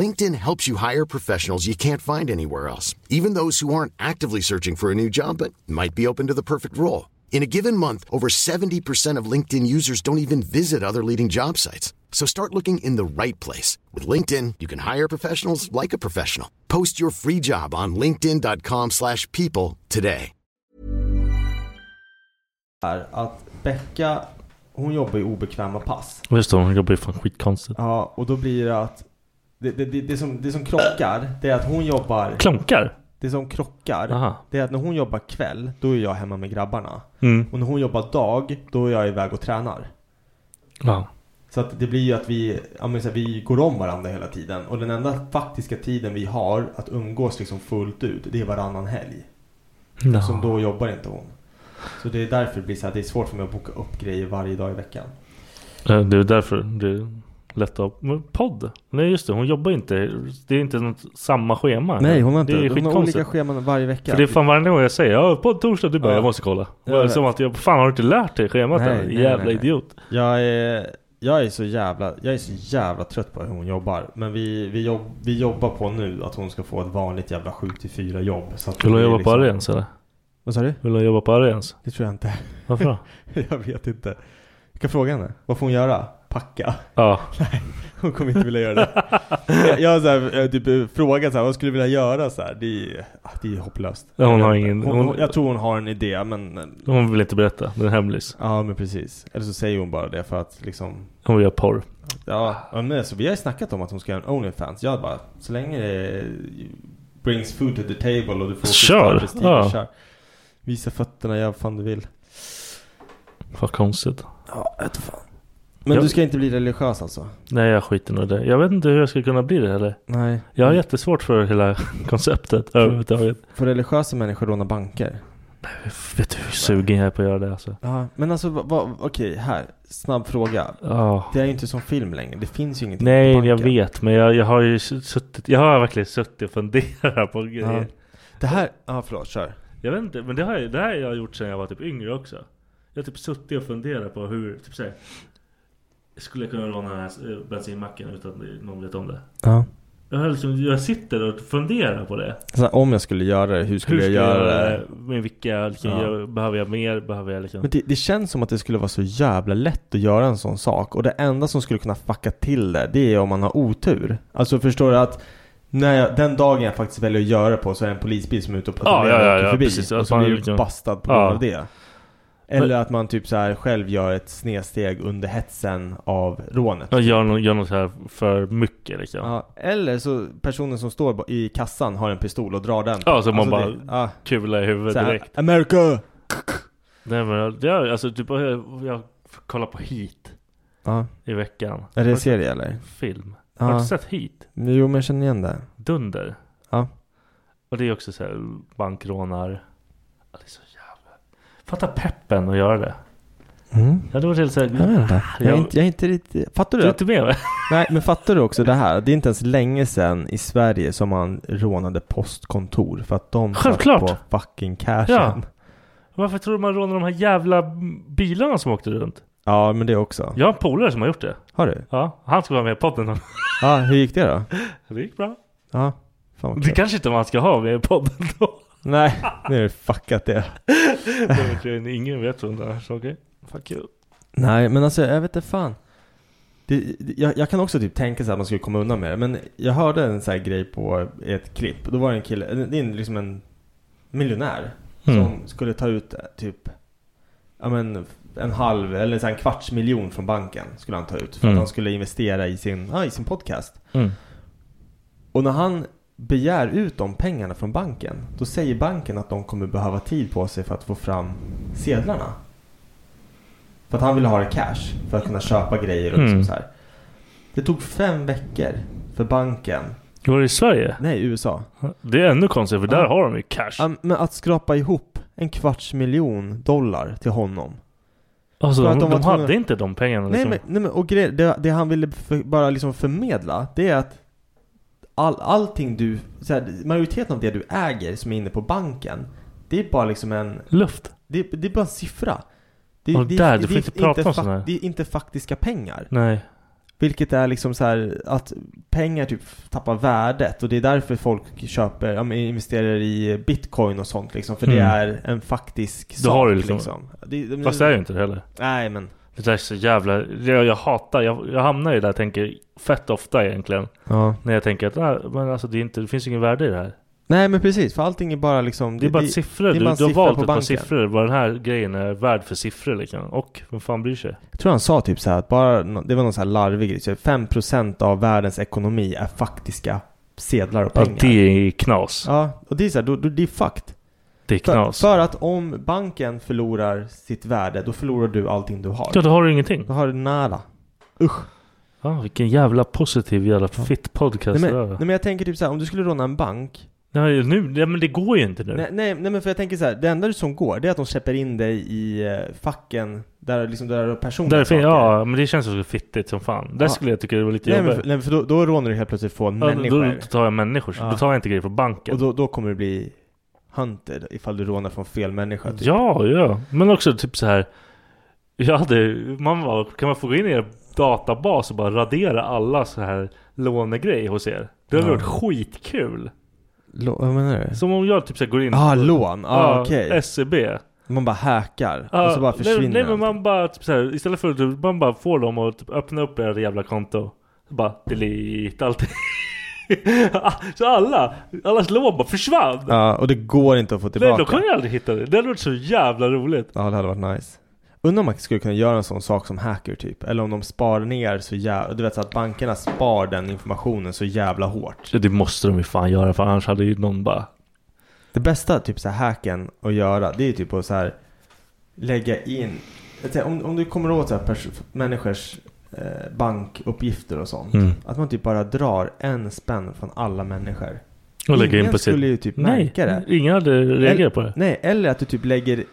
Speaker 7: LinkedIn helps you hire professionals you can't find anywhere else, even those who aren't actively searching for a new job but might be open to the perfect role. In a given month, over 70% of LinkedIn users don't even visit other leading job sites. So start looking in the right place. With LinkedIn, you can hire professionals like a professional. Post your free job on linkedin.com/people slash people today.
Speaker 4: är att Becka, hon jobbar i obekväma pass.
Speaker 5: Just det, hon jobbar ju fan skitkonstigt.
Speaker 4: Ja, och då blir det att det, det, det, det, som, det som krockar, det är att hon jobbar,
Speaker 5: Klonkar?
Speaker 4: det som krockar,
Speaker 5: Aha.
Speaker 4: det är att när hon jobbar kväll, då är jag hemma med grabbarna.
Speaker 5: Mm.
Speaker 4: Och när hon jobbar dag, då är jag iväg och tränar.
Speaker 5: Ja.
Speaker 4: Så att det blir ju att vi, ja, men så här, vi går om varandra hela tiden. Och den enda faktiska tiden vi har att umgås liksom fullt ut, det är varannan helg. Som
Speaker 5: ja.
Speaker 4: då jobbar inte hon. Så det är därför det blir så här, det är svårt för mig att boka upp grejer varje dag i veckan.
Speaker 5: Eh, Det är därför det är lätt att... Men podd? Nej just det, hon jobbar inte. Det är inte något samma schema. Det är skitkonstigt.
Speaker 4: scheman varje vecka.
Speaker 5: För det är fan varje gång jag säger ja, podd torsdag, du bara
Speaker 4: Ja.
Speaker 5: jag måste kolla.
Speaker 4: Ja, jag
Speaker 5: som
Speaker 4: vet.
Speaker 5: att jag, fan har du inte lärt dig schemat
Speaker 4: Nej,
Speaker 5: än?
Speaker 4: nej,
Speaker 5: Jävla
Speaker 4: nej, nej.
Speaker 5: idiot.
Speaker 4: Jag är, jag är så jävla, jag är så jävla trött på hur hon jobbar. Men vi, vi, jobb, vi jobbar på nu att hon ska få ett vanligt jävla 7-4 jobb. Så att det
Speaker 5: Vill hon
Speaker 4: blir
Speaker 5: jobba på
Speaker 4: liksom-
Speaker 5: Arens eller?
Speaker 4: Vad sa du?
Speaker 5: Vill hon jobba på Arens?
Speaker 4: Det tror jag inte. [laughs]
Speaker 5: Varför då?
Speaker 4: jag vet inte. Jag kan fråga henne. Vad får hon göra? packa. [laughs]
Speaker 5: Ja.
Speaker 4: Nej, hon kommer inte
Speaker 5: [laughs]
Speaker 4: vilja göra det. Jag- Jag har så här, eh, typ frågat så här, vad skulle du vilja göra så här? Det är, ah, det är hopplöst.
Speaker 5: Ja, hon
Speaker 4: Jag
Speaker 5: har
Speaker 4: vet inte.
Speaker 5: ingen-
Speaker 4: Hon,
Speaker 5: hon-
Speaker 4: jag tror hon har en idé men...
Speaker 5: Hon vill inte berätta, den är hemlis.
Speaker 4: Ja men precis. Eller så säger hon bara det för att liksom...
Speaker 5: Hon vill göra porr.
Speaker 4: Ja, ja, men alltså, vi har ju snackat om att hon ska göra en Onlyfans. Jag bara, så länge det brings food to the table och du får
Speaker 5: Kör!
Speaker 4: sitta prestige,
Speaker 5: Ja.
Speaker 4: kör. Visa fötterna, gör vad fan du vill.
Speaker 5: Vad konstigt.
Speaker 4: Ja, jag vet fan. Men
Speaker 5: Jag-
Speaker 4: du ska inte bli religiös alltså?
Speaker 5: Nej jag skiter nog i det. Jag vet inte hur jag ska kunna bli det heller.
Speaker 4: Nej.
Speaker 5: Jag har jättesvårt för hela [laughs] konceptet överhuvudtaget.
Speaker 4: För religiösa människor råna banker?
Speaker 5: Vet du hur sugen jag är på att göra det alltså?
Speaker 4: Ja, men alltså vad, vad, okej här, snabb fråga.
Speaker 5: Ja.
Speaker 4: Det är ju inte som film längre, det finns ju ingenting på
Speaker 5: Nej
Speaker 4: banken.
Speaker 5: jag vet men jag, jag har ju suttit, jag har verkligen suttit och funderat på grejer.
Speaker 4: Ja. Det här, ja förlåt, kör.
Speaker 5: Jag vet inte, men det har, jag- det här har jag gjort sedan jag var typ yngre också. Jag har typ suttit och funderat på hur, typ såhär. Skulle jag kunna råna den här eh, bensinmacken utan att någon vet om det?
Speaker 4: Ja.
Speaker 5: Jag, har liksom, jag sitter och funderar på det.
Speaker 4: Så här, Alltså, om jag skulle göra det, hur skulle,
Speaker 5: hur
Speaker 4: jag göra det?
Speaker 5: Med vilka, liksom,
Speaker 4: Ja.
Speaker 5: jag, behöver jag mer? Behöver jag liksom...
Speaker 4: Men det, det känns som att det skulle vara så jävla lätt att göra en sån sak och det enda som skulle kunna fucka till det, det är om man har otur. Alltså förstår du att när jag, den dagen jag faktiskt väljer att göra det på så är det en polisbil som är ute och
Speaker 5: ja,
Speaker 4: patrullerar och
Speaker 5: ja,
Speaker 4: åker
Speaker 5: ja,
Speaker 4: förbi.
Speaker 5: precis.
Speaker 4: och
Speaker 5: Att
Speaker 4: så
Speaker 5: man
Speaker 4: blir du
Speaker 5: liksom-
Speaker 4: bastad på grund
Speaker 5: Ja.
Speaker 4: av det. Eller
Speaker 5: Men-
Speaker 4: att man typ så här själv gör ett snedsteg under hetsen av rånet.
Speaker 5: Jag gör, nå- gör något här för mycket liksom.
Speaker 4: Ja, eller så personen som står ba- i kassan har en pistol och drar den. Alltså,
Speaker 5: Ja, så man bara
Speaker 4: det- ja,
Speaker 5: kular i huvudet
Speaker 4: så här,
Speaker 5: direkt.
Speaker 4: America!
Speaker 5: Nej men jag- det är, alltså typ jag, jag kollar på Heat
Speaker 4: Ja.
Speaker 5: i veckan.
Speaker 4: Är det
Speaker 5: Har du
Speaker 4: en
Speaker 5: sett
Speaker 4: serie eller?
Speaker 5: Film.
Speaker 4: Ja.
Speaker 5: Har du sett Heat?
Speaker 4: Jo men jag känner igen det.
Speaker 5: Dunder.
Speaker 4: Ja.
Speaker 5: Och det är också så här bankrånar. Ja, Det är så jävla... Fatta peppen att göra det.
Speaker 4: Mm.
Speaker 5: Jag hade varit helt såhär...
Speaker 4: Jag vet inte. Ah, Jag är inte, jag är inte riktigt... Fattar du?
Speaker 5: Du är
Speaker 4: att-
Speaker 5: inte med va?
Speaker 4: Nej, men fattar du också det här? Det är inte ens länge sedan i Sverige som man rånade postkontor för att de
Speaker 5: Självklart.
Speaker 4: satt på fucking cashen.
Speaker 5: Ja.
Speaker 4: Ja.
Speaker 5: Varför tror du man rånar de här jävla bilarna som åkte runt?
Speaker 4: men det också.
Speaker 5: Jag har en polare som har gjort det.
Speaker 4: Har du?
Speaker 5: Ja, han ska vara med i podden. [laughs]
Speaker 4: Ja, hur gick det då?
Speaker 5: Det gick bra.
Speaker 4: Ja, fan vad
Speaker 5: Det
Speaker 4: kul.
Speaker 5: kanske inte man ska ha med i podden då. [laughs]
Speaker 4: Nej, nu är det fuckat det.
Speaker 5: Det vet jag inte. Ingen vet om det här, så okej. Fuck you.
Speaker 4: Nej, men alltså jag vet inte fan. Det, det- jag, jag kan också typ tänka så att man skulle komma undan med det. Men jag hörde en sån här grej på ett klipp. Då var det en kille, det är en- liksom en miljonär.
Speaker 5: Mm.
Speaker 4: Som skulle ta ut eh, typ, ja men en halv eller så här en kvarts miljon från banken. Skulle han ta ut. För
Speaker 5: Mm.
Speaker 4: att han skulle investera i sin, ja, i sin podcast.
Speaker 5: Mm.
Speaker 4: Och när han begär ut de pengarna från banken. Då säger banken att de kommer behöva tid på sig för att få fram sedlarna. För att han ville ha det cash för att kunna köpa grejer och
Speaker 5: Mm.
Speaker 4: liksom så här. Det tog fem veckor för banken,
Speaker 5: Var det i Sverige?
Speaker 4: nej USA,
Speaker 5: Det är ännu konstigt för där
Speaker 4: Ja.
Speaker 5: har de ju cash.
Speaker 4: Ja, men att skrapa ihop en kvarts miljon dollar till honom.
Speaker 5: Alltså
Speaker 4: För
Speaker 5: de,
Speaker 4: att de
Speaker 5: de,
Speaker 4: var tvungna-
Speaker 5: hade inte de pengarna
Speaker 4: Nej,
Speaker 5: liksom.
Speaker 4: men, nej men och grej, det, det han ville för, bara liksom förmedla, det är att all, allting du, så här, majoriteten av det du äger som är inne på banken, det är bara liksom en,
Speaker 5: Luft.
Speaker 4: det, det är bara en siffra. Det,
Speaker 5: Och
Speaker 4: det-
Speaker 5: där, du
Speaker 4: det
Speaker 5: får
Speaker 4: är
Speaker 5: inte prata om
Speaker 4: fak-
Speaker 5: sån här.
Speaker 4: Det är inte faktiska pengar.
Speaker 5: Nej.
Speaker 4: Vilket är liksom så här att pengar typ tappar värdet och det är därför folk köper, ja, men investerar i bitcoin och sånt liksom. För det
Speaker 5: Mm.
Speaker 4: är en faktisk
Speaker 5: Då
Speaker 4: sak.
Speaker 5: har du liksom-
Speaker 4: Det, det,
Speaker 5: Fast det är ju inte det heller.
Speaker 4: Nej men.
Speaker 5: Det där är så jävla... Jag, jag hatar... Jag, jag hamnar ju där och tänker fett ofta egentligen.
Speaker 4: Ja.
Speaker 5: När jag tänker att ah, men alltså, det, är inte, det finns ingen värde i det här.
Speaker 4: Nej men precis, för allting är bara liksom.
Speaker 5: Det är bara siffror.
Speaker 4: det är
Speaker 5: Du,
Speaker 4: bara en
Speaker 5: du har
Speaker 4: siffra
Speaker 5: valt
Speaker 4: på
Speaker 5: ett par
Speaker 4: banken.
Speaker 5: siffror. Vad den här grejen är värd för siffror liksom. Och vem fan bryr sig?
Speaker 4: Jag tror han sa typ så här att bara, nå- det var någon så här larvig grej. Så 5% av världens ekonomi är faktiska sedlar och
Speaker 5: Ja,
Speaker 4: pengar.
Speaker 5: det är knas.
Speaker 4: Ja, och det är så här, då, då, det är fucked.
Speaker 5: Det är
Speaker 4: För,
Speaker 5: knas.
Speaker 4: för att om banken förlorar sitt värde, då förlorar du allting du har.
Speaker 5: Ja, då har du ingenting.
Speaker 4: Då har du nada.
Speaker 5: Ja, vilken jävla positiv jävla
Speaker 4: Ja.
Speaker 5: fit podcast
Speaker 4: Nej men,
Speaker 5: det
Speaker 4: nej
Speaker 5: där.
Speaker 4: men jag tänker typ så här, om du skulle råna en bank
Speaker 5: Nej, nu, nej men det går ju inte nu.
Speaker 4: nej, nej, nej men för jag tänker så här, det enda som går det är att de släpper in dig i eh, facken där liksom där är personliga
Speaker 5: Därför,
Speaker 4: saker
Speaker 5: ja, men det känns så fittigt som fan. Där
Speaker 4: Ja.
Speaker 5: skulle jag tycka det var lite
Speaker 4: Nej
Speaker 5: jobbigt.
Speaker 4: men, för, nej, för då, då rånar du helt plötsligt från
Speaker 5: Ja, då,
Speaker 4: människor
Speaker 5: då tar jag människor.
Speaker 4: Ja.
Speaker 5: Då tar jag inte grejer från banken.
Speaker 4: Och då, då kommer du bli hunted ifall du rånar från fel människa typ.
Speaker 5: Ja, ja. Men också typ så här. Jag hade, man var, kan man få gå in i er databas och bara radera alla så här lånegrejer hos er? Det hade
Speaker 4: Ja.
Speaker 5: varit skitkul.
Speaker 4: Lå- vad menar du?
Speaker 5: Som om jag typ så här går in E
Speaker 4: Ah, lån, ah, okej
Speaker 5: SEB.
Speaker 4: Man bara hackar
Speaker 5: Ja,
Speaker 4: och så bara
Speaker 5: nej,
Speaker 4: försvinner
Speaker 5: Nej men man bara, typ, såhär, istället för att man bara får dem att typ, öppna upp era jävla konto. Så bara delete allting. [laughs] så alla, allas lån bara försvann.
Speaker 4: Ja, och det går inte att få
Speaker 5: Nej, då
Speaker 4: tillbaka.
Speaker 5: kan jag aldrig hitta det. Det hade varit så jävla roligt.
Speaker 4: Ja, det hade varit nice. Undrar om man skulle kunna göra en sån sak som hacker typ. Eller om de sparar ner så jävla... Du vet så att bankerna spar den informationen så jävla hårt.
Speaker 5: Det måste de ju fan göra för annars hade ju någon bara...
Speaker 4: Det bästa typ så här hacken att göra det är ju typ att så här lägga in. Jag tänker, Om, om du kommer åt så här pers- människors eh, bankuppgifter och sånt.
Speaker 5: Mm.
Speaker 4: Att man typ bara drar en spänn från alla människor.
Speaker 5: Och lägga
Speaker 4: ingen
Speaker 5: in på sitt-
Speaker 4: skulle ju typ
Speaker 5: Nej,
Speaker 4: märka det.
Speaker 5: ingen hade reagerat
Speaker 4: Eller-
Speaker 5: på det.
Speaker 4: Nej, eller att du typ lägger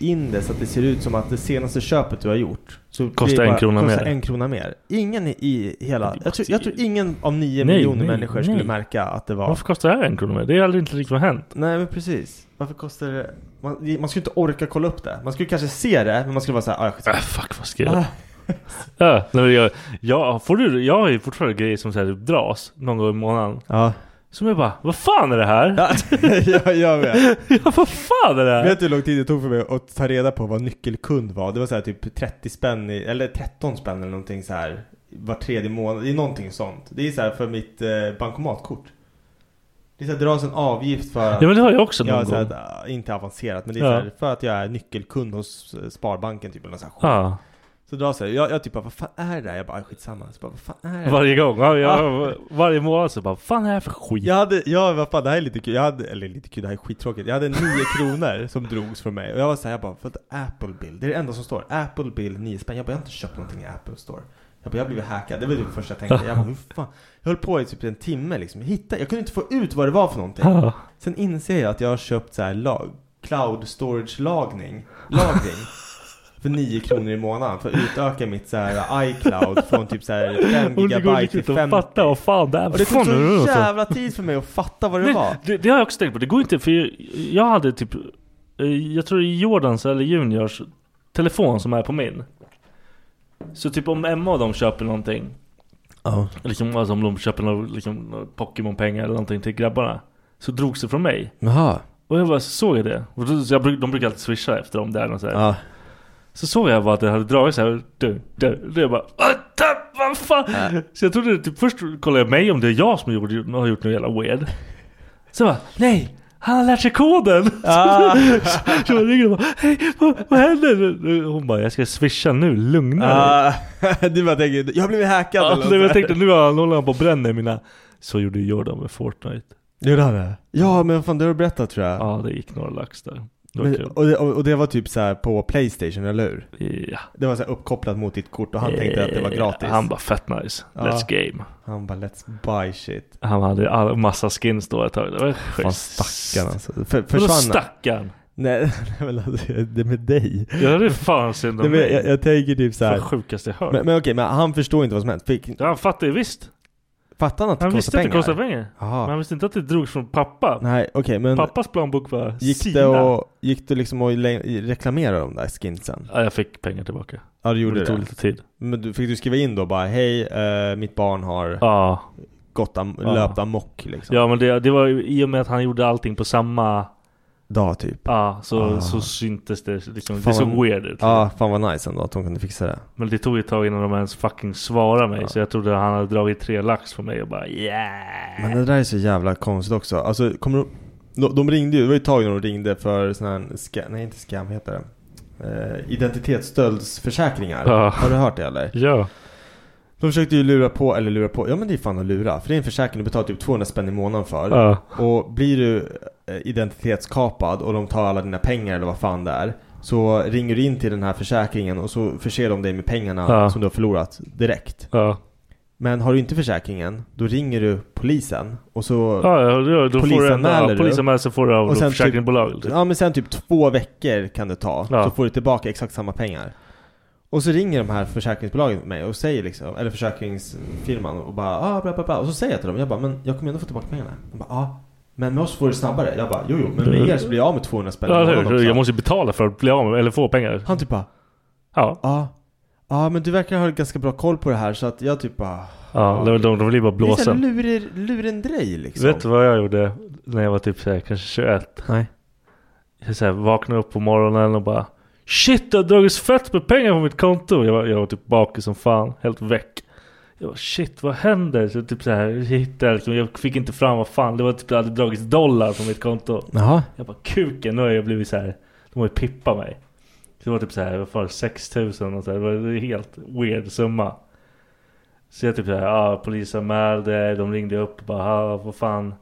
Speaker 4: in det så att det ser ut som att det senaste köpet du har gjort så blir
Speaker 5: Kostar
Speaker 4: det
Speaker 5: en krona
Speaker 4: kostar
Speaker 5: mer.
Speaker 4: en krona mer. Ingen i- i hela... Jag tror, jag tror ingen av nio
Speaker 5: Nej,
Speaker 4: miljoner
Speaker 5: nej,
Speaker 4: människor
Speaker 5: nej.
Speaker 4: skulle märka att det var...
Speaker 5: Varför kostar det här en krona mer? Det har aldrig inte riktigt hänt.
Speaker 4: Nej men precis. Varför kostar det? Man, man skulle inte orka kolla upp det. Man skulle kanske se det, men man skulle vara såhär... Ah,
Speaker 5: äh, fuck vad ska jag... Ja, nej, men jag, jag, får du, jag har ju fortfarande grejer som så här, dras någon gång i månaden.
Speaker 4: Ja.
Speaker 5: Som jag bara, vad fan är det här?
Speaker 4: [laughs] jag, jag med.
Speaker 5: ja, vad fan är det här?
Speaker 4: Vet du hur lång tid det tog för mig att ta reda på vad nyckelkund var? Det var såhär typ 30 spänn, i, eller 13 spänn eller någonting så här Var tredje månad, det är någonting sånt. Det är såhär för mitt eh, bankomatkort. Det är såhär, dras en avgift för att...
Speaker 5: Ja, men det har jag också
Speaker 4: ja,
Speaker 5: någon
Speaker 4: så här,
Speaker 5: gång.
Speaker 4: äh, Inte avancerat, men det är
Speaker 5: Ja.
Speaker 4: så här, för att jag är nyckelkund hos eh, Sparbanken typ eller något sånt här skit.
Speaker 5: Ja.
Speaker 4: Så dras jag, jag, jag typ bara, vad fan är det där? Jag bara, "Ah, skitsamma. Så bara, vad fan är det där?"
Speaker 5: Varje gång. Ja,
Speaker 4: Ah.
Speaker 5: jag, varje månad så bara, vad fan är det här för skit?
Speaker 4: Jag hade, ja vad fan det här är lite kul, jag hade, eller lite kul, det här är skittråkigt. Jag hade 9
Speaker 5: [laughs]
Speaker 4: kronor som drogs från mig och jag var såhär, jag bara, för att Apple Bill, det är det enda som står. Apple Bill 9 spänn. Jag bara, jag har inte köpt någonting i Apple Store. Jag bara, jag har blivit hackad. Det var typ det första jag tänkte. Jag bara, hur fan. Jag höll på i typ en timme liksom. Hitta, jag kunde inte få ut vad det var för
Speaker 5: [laughs]
Speaker 4: någonting.
Speaker 5: Ja.
Speaker 4: Sen inser jag att jag har köpt så här lag, cloud storage lagning,
Speaker 5: [laughs]
Speaker 4: lagring. För 9 kronor i månaden för att utöka mitt så här iCloud från typ så här 5
Speaker 5: Och det går
Speaker 4: gigabyte till
Speaker 5: riktigt att
Speaker 4: 50.
Speaker 5: fatta vad fan det är.
Speaker 4: Och det
Speaker 5: Fan,
Speaker 4: tog
Speaker 5: är det
Speaker 4: så
Speaker 5: något?
Speaker 4: jävla tid för mig att fatta vad det
Speaker 5: Nej,
Speaker 4: var.
Speaker 5: Det, det har jag också tänkt på. Det går inte för jag, jag hade typ eh, Jag tror det är Jordans eller Juniors telefon som är på min. Så typ om Emma och de köper någonting.
Speaker 4: Ja.
Speaker 5: Liksom, alltså om de köper någon, liksom, någon Pokémon-pengar eller någonting till grabbarna. Så drogs det från mig.
Speaker 4: Jaha.
Speaker 5: Och jag bara såg jag det. Och då, så jag, bruk- de brukar alltid swisha efter dem där. Och så, här.
Speaker 4: Ja.
Speaker 5: så såg jag bara att det hade dragit så här. Du, du, du. Jag bara "Vad ta- vad fan. Så jag trodde typ först kollade jag mig om det är jag som gjorde, har gjort något jävla weird. Så jag bara nej. Han har lärt sig koden!
Speaker 4: Ah.
Speaker 5: Så, [laughs] så jag ringer och bara Hej, vad, vad händer? Hon bara jag ska swisha nu, lugna dig.
Speaker 4: Ah, [laughs] du bara tänker, jag har blivit hackad
Speaker 5: Ja,
Speaker 4: eller något
Speaker 5: nej, men jag
Speaker 4: så här.
Speaker 5: tänkte nu har han- håller han på och bränner mina... Så gjorde Jordan med Fortnite.
Speaker 4: Gjorde han det? Ja men fan det har du berättat tror jag.
Speaker 5: Ja det gick några lax där. Det var
Speaker 4: Men,
Speaker 5: kul.
Speaker 4: och, det, och och det var typ så här på Playstation, eller hur?
Speaker 5: Ja.
Speaker 4: Det var så här uppkopplat mot ditt kort och han tänkte att det var
Speaker 5: Eh,
Speaker 4: gratis.
Speaker 5: Han bara fett nice.
Speaker 4: Ja.
Speaker 5: Let's game.
Speaker 4: Han bara let's buy shit.
Speaker 5: Han hade all, massa skins då ett tag. Det var
Speaker 4: Fan
Speaker 5: schysst.
Speaker 4: stackarn alltså. För,
Speaker 5: Vadå
Speaker 4: försvann han?
Speaker 5: stackarn?
Speaker 4: Nej [laughs] nej, men alltså, det är med dig.
Speaker 5: Ja det är fan synd
Speaker 4: Nej,
Speaker 5: om
Speaker 4: men
Speaker 5: mig.
Speaker 4: jag, jag tänker typ så
Speaker 5: Det var
Speaker 4: här.
Speaker 5: det sjukaste jag hört.
Speaker 4: Men, men okej, men han förstår inte vad som hänt. Fick,
Speaker 5: Ja, han fattade ju visst.
Speaker 4: fattar han att det
Speaker 5: Han
Speaker 4: kostar
Speaker 5: visste att
Speaker 4: pengar?
Speaker 5: det kostade pengar.
Speaker 4: Jaha.
Speaker 5: Men han visste inte att det drogs från pappa.
Speaker 4: Nej okej men
Speaker 5: Pappas plånbok var
Speaker 4: gick
Speaker 5: sina.
Speaker 4: det, och, gick det liksom att le- reklamera de där skinsen?
Speaker 5: Ja, jag fick pengar tillbaka.
Speaker 4: Ja du gjorde
Speaker 5: det tog
Speaker 4: det?
Speaker 5: lite tid.
Speaker 4: Men du, fick du skriva in då bara hej, eh, mitt barn har
Speaker 5: Ja.
Speaker 4: gått am-
Speaker 5: Ja.
Speaker 4: löpt amok liksom?
Speaker 5: Ja men det, det var ju i och med att han gjorde allting på samma...
Speaker 4: Dag typ?
Speaker 5: Ja, så,
Speaker 4: Ah.
Speaker 5: så syntes det liksom.
Speaker 4: Fan
Speaker 5: det såg
Speaker 4: vad-
Speaker 5: weird ut.
Speaker 4: Ja, fan vad nice ändå att de kunde fixa det.
Speaker 5: Men det tog ett tag innan de ens fucking svarade mig.
Speaker 4: Ja.
Speaker 5: Så jag trodde att han hade dragit tre lax för mig och bara yeah.
Speaker 4: Men det där är så jävla konstigt också. Alltså, kommer de, de, de ringde ju, det var ju ett tag när de ringde för sån här, ska, nej inte scam heter det. Eh, identitetsstöldsförsäkringar.
Speaker 5: Ja.
Speaker 4: Har du hört det eller?
Speaker 5: Ja.
Speaker 4: De försökte ju lura på, eller lura på, ja men det är fan att lura. För det är en försäkring du betalar typ 200 spänn i månaden för.
Speaker 5: Ja.
Speaker 4: Och blir du eh, identitetskapad och de tar alla dina pengar eller vad fan det är. Så ringer du in till den här försäkringen och så förser de dig med pengarna
Speaker 5: Ja.
Speaker 4: som du har förlorat direkt.
Speaker 5: Ja.
Speaker 4: Men har du inte försäkringen, då ringer du polisen och så...
Speaker 5: Ja, ja, då, då får du en
Speaker 4: Polisanmäler
Speaker 5: ja,
Speaker 4: du?
Speaker 5: polisanmälan så får du av
Speaker 4: Och sen typ-
Speaker 5: försäkringsbolaget.
Speaker 4: Ja men sen typ två veckor kan det ta,
Speaker 5: Ja.
Speaker 4: så får du tillbaka exakt samma pengar. Och så ringer de här försäkringsbolagen mig och säger liksom, eller försäkringsfirman och bara ah, bla, bla, bla. Och så säger jag till dem, jag bara men jag kommer ändå få tillbaka pengarna. De bara ah, men med oss får du snabbare. Jag bara jo jo, men med er så blir jag av med 200 spänn i
Speaker 5: Ja,
Speaker 4: månaden
Speaker 5: eller hur?
Speaker 4: också."
Speaker 5: Jag måste ju betala för att bli av med, eller få pengar.
Speaker 4: Han typ bara
Speaker 5: Ja.
Speaker 4: ah, ah, men du verkar ha ganska bra koll på det här så att jag typ bara
Speaker 5: ja de, de, de blir bara
Speaker 4: Det är såhär
Speaker 5: blåsa.
Speaker 4: lurer, lurendrej liksom.
Speaker 5: Vet du vad jag gjorde när jag var typ så här, kanske 21?
Speaker 4: Nej.
Speaker 5: jag så här, vaknade upp på morgonen och bara Shit, det har dragits fett med pengar på mitt konto. Jag var, jag var typ bakis som fan, helt väck. Jag bara, shit, vad händer? Så typ så här, hittade, liksom, jag fick inte fram vad fan. Det var typ, det hade dragits dollar på mitt konto.
Speaker 4: Jaha.
Speaker 5: Jag bara, kuken, nu har jag blivit så här. De har ju pippat mig. Så det var typ så här, vad fan, 6000 och så här. Det var en helt weird summa. Så jag typ såhär, ja polisanmälde, de ringde upp och bara, "Ha, vad fan,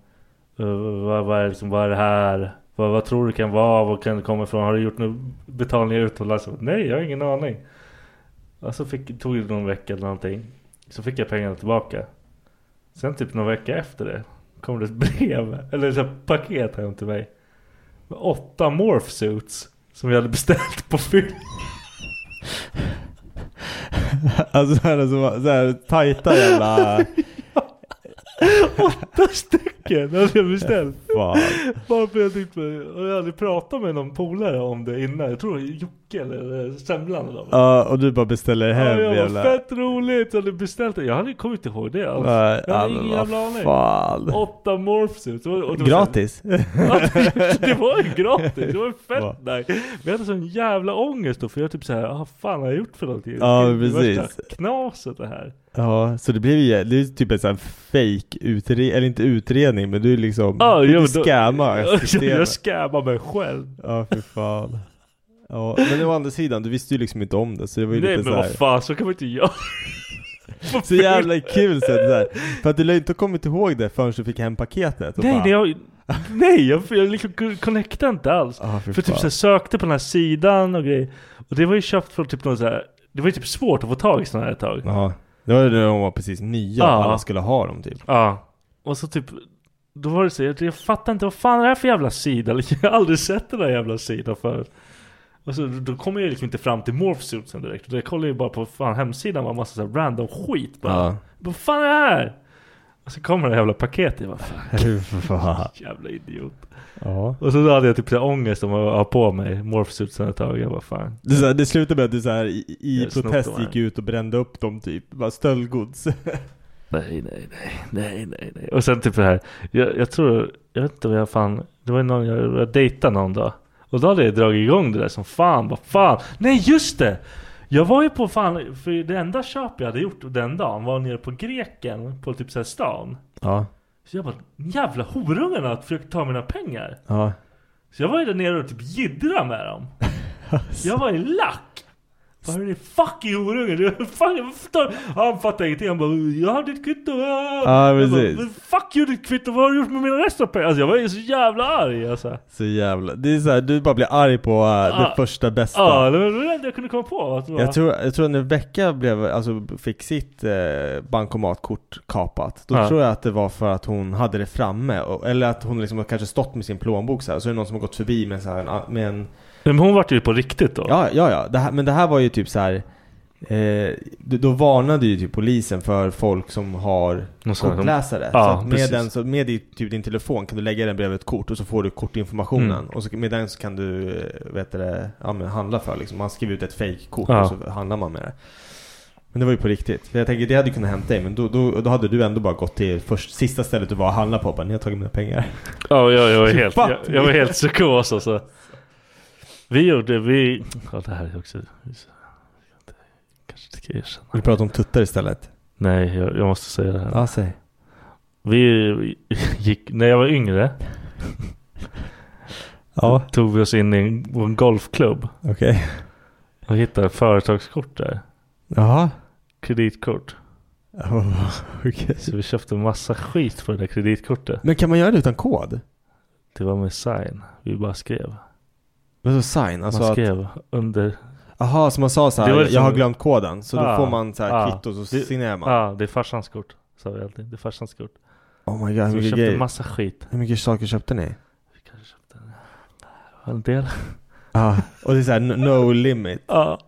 Speaker 5: eh, vad, vad, är, liksom, vad är det här? Vad, vad tror du kan vara? Vad kan det komma ifrån? Har du gjort några betalningar utomlands? Jag bara, Nej, jag har ingen aning. Och så fick, tog det någon vecka eller någonting. Så fick jag pengarna tillbaka. Sen typ någon vecka efter det kom det ett brev, eller ett paket hem till mig. Med åtta morph suits som jag hade beställt på film.
Speaker 4: [laughs] Alltså så här, så så här
Speaker 5: [laughs]
Speaker 4: tajta jävla...
Speaker 5: Åtta stycken hade jag beställt.
Speaker 4: Fan.
Speaker 5: Bara för jag tyckte, och jag hade pratat med någon polare om det innan. Jag tror Jocke eller Semlan eller vad.
Speaker 4: Ja, och du bara beställer hem
Speaker 5: jag
Speaker 4: jävla...
Speaker 5: var fett roligt, jag hade beställt det. Jag hade kommit ihåg det alls.
Speaker 4: Nej,
Speaker 5: jag hade
Speaker 4: ja,
Speaker 5: ingen
Speaker 4: men vad
Speaker 5: jävla aning.
Speaker 4: fan.
Speaker 5: Åtta morphsuits.
Speaker 4: Gratis?
Speaker 5: [laughs] det var ju gratis, det var ju fett nice. Men jag hade sån jävla ångest då för jag typ såhär, ah, vad fan har jag gjort för någonting?
Speaker 4: Ja,
Speaker 5: Det är det
Speaker 4: precis.
Speaker 5: värsta Knaset det här.
Speaker 4: Ja, så det blev ju det är typ en sån här fake utredning, eller inte utredning men du liksom,
Speaker 5: Ja,
Speaker 4: du
Speaker 5: ja, men då-
Speaker 4: scammar systemet.
Speaker 5: [laughs] Jag scammar mig själv.
Speaker 4: Ja, för fan. Ja, men å andra sidan, du visste ju liksom inte om det så det var ju
Speaker 5: Nej
Speaker 4: lite
Speaker 5: men
Speaker 4: så här.
Speaker 5: vad fan, så kan man inte göra.
Speaker 4: Så jävla kul så att det där. För att du lär ju inte ha kommit ihåg det förrän du fick hem paketet. och
Speaker 5: Nej,
Speaker 4: bara,
Speaker 5: det jag, nej jag, jag liksom connectade inte alls.
Speaker 4: ah,
Speaker 5: För typ så här, sökte på den här sidan och grejer. Och det var ju köpt från typ någon så här. Det var ju typ svårt att få tag i sådana här ett tag.
Speaker 4: Ja, det var när de var precis nya
Speaker 5: Ja.
Speaker 4: och alla skulle ha dem typ.
Speaker 5: Ja. Och så typ. Då var det så jag, jag fattar inte vad fan är det här för jävla sida? [laughs] Liksom, Jag har aldrig sett den här jävla sidan förut. Och så, då kommer jag liksom inte fram till morphsuitsen direkt. Jag kollar ju bara på fan hemsidan var en massa så här random skit bara.
Speaker 4: Ja.
Speaker 5: Vad fan är det här? Och så kommer det här jävla paketet. Jag bara, fan,
Speaker 4: [laughs] Hur [laughs] fan.
Speaker 5: jävla idiot.
Speaker 4: Ja.
Speaker 5: Och så hade jag typ så här ångest om att ha på mig morphsuitsen ett tag. Jag bara fan.
Speaker 4: Det, är så här, det slutade med att du så här, i, i
Speaker 5: Jag snott
Speaker 4: protest
Speaker 5: dem här.
Speaker 4: gick ut och brände upp dem typ, bara stöldgods.
Speaker 5: Nej, nej, nej, nej, nej, nej. Och sen typ det här. Jag, jag tror, jag vet inte vad jag fan. Det var någon, jag, jag dejtade någon dag. Och då hade jag dragit igång det där som fan, vad fan. Nej just det! Jag var ju på fan, för det enda köp jag hade gjort den dagen var nere på greken på typ såhär stan.
Speaker 4: Ja,
Speaker 5: Så jag bara, jävla horungarna har försökt ta mina pengar.
Speaker 4: ja.
Speaker 5: Så jag var ju där nere och typ jiddra med
Speaker 4: [laughs]
Speaker 5: dem. Jag var ju lack! Vad är det fucking horunge? Du, [laughs] fan, jag förstår. Han fattar ingenting. Han bara 'Jag har ditt kvitto'
Speaker 4: Ja,
Speaker 5: Jag bara,
Speaker 4: precis.
Speaker 5: "Men Fuck you ditt kvitto, vad har du gjort med mina resten av pengar? Alltså jag var ju så jävla arg alltså.
Speaker 4: Så jävla, det är så här, du bara blir arg på äh, det
Speaker 5: Ja.
Speaker 4: första bästa.
Speaker 5: Ja, det var det enda jag kunde komma på. Att det var,
Speaker 4: Jag tror, jag tror när Becka blev, alltså fick sitt eh, bankomatkort kapat, då
Speaker 5: Ja.
Speaker 4: tror jag att det var för att hon hade det framme, och, eller att hon liksom har kanske stått med sin plånbok så här, och så är det någon som har gått förbi med, så här, en- med en
Speaker 5: Men hon vart ju på riktigt då.
Speaker 4: Ja, ja, ja. Det här, men det här var ju typ så här. Eh, då, då varnade ju typ polisen för folk som har
Speaker 5: Och så-
Speaker 4: kortläsare.
Speaker 5: Ja,
Speaker 4: så att med,
Speaker 5: precis.
Speaker 4: den, så med din- typ din telefon kan du lägga den bredvid ett kort och så får du kortinformationen.
Speaker 5: Mm.
Speaker 4: Och så, med den så kan du eh, vet du, det, ja, men handla för. Liksom. Man skriver ut ett fejkkort
Speaker 5: Ja.
Speaker 4: och så handlar man med det. Men det var ju på riktigt. För jag tänker det hade ju kunnat hämta dig men då, då, då hade du ändå bara gått till först, sista stället du var och handlat på och bara, ni har tagit mina pengar.
Speaker 5: Ja, jag, jag, var helt, jag,
Speaker 4: Fattig.
Speaker 5: jag var helt psykos alltså. Vi gjorde, vi... Ja det här är också... Kanske inte ska erkänna.
Speaker 4: Vi pratar om tuttar istället.
Speaker 5: Nej, jag, jag måste säga det här.
Speaker 4: Ja, säg.
Speaker 5: Vi vi gick, när jag var yngre
Speaker 4: Ja,
Speaker 5: tog vi oss in i en, på en golfklubb
Speaker 4: okej.
Speaker 5: och hittade företagskort där.
Speaker 4: [laughs] Jaha.
Speaker 5: Kreditkort.
Speaker 4: Oh,
Speaker 5: Så vi köpte massa skit för det där kreditkortet.
Speaker 4: Men kan man göra det utan kod?
Speaker 5: Det var med sign. Vi bara skrev.
Speaker 4: Vadå sign? Alltså
Speaker 5: Man
Speaker 4: att,
Speaker 5: skrev under.
Speaker 4: aha, så man sa så här,
Speaker 5: Det var
Speaker 4: jag
Speaker 5: liksom-
Speaker 4: har glömt koden. Så då
Speaker 5: Ah,
Speaker 4: får man så här
Speaker 5: ah.
Speaker 4: kvitto och så
Speaker 5: Det-
Speaker 4: signerar man.
Speaker 5: Ja, ah, det är farsans kort. Sa vi alltid. Det är farsans kort.
Speaker 4: Oh my god, hur
Speaker 5: ah. Så vi
Speaker 4: mycket,
Speaker 5: köpte
Speaker 4: grejer,
Speaker 5: massa skit.
Speaker 4: hur mycket saker köpte ni?
Speaker 5: Vi kanske köpte en- en del.
Speaker 4: [laughs] Ah, och det är såhär no limit.
Speaker 5: Ja.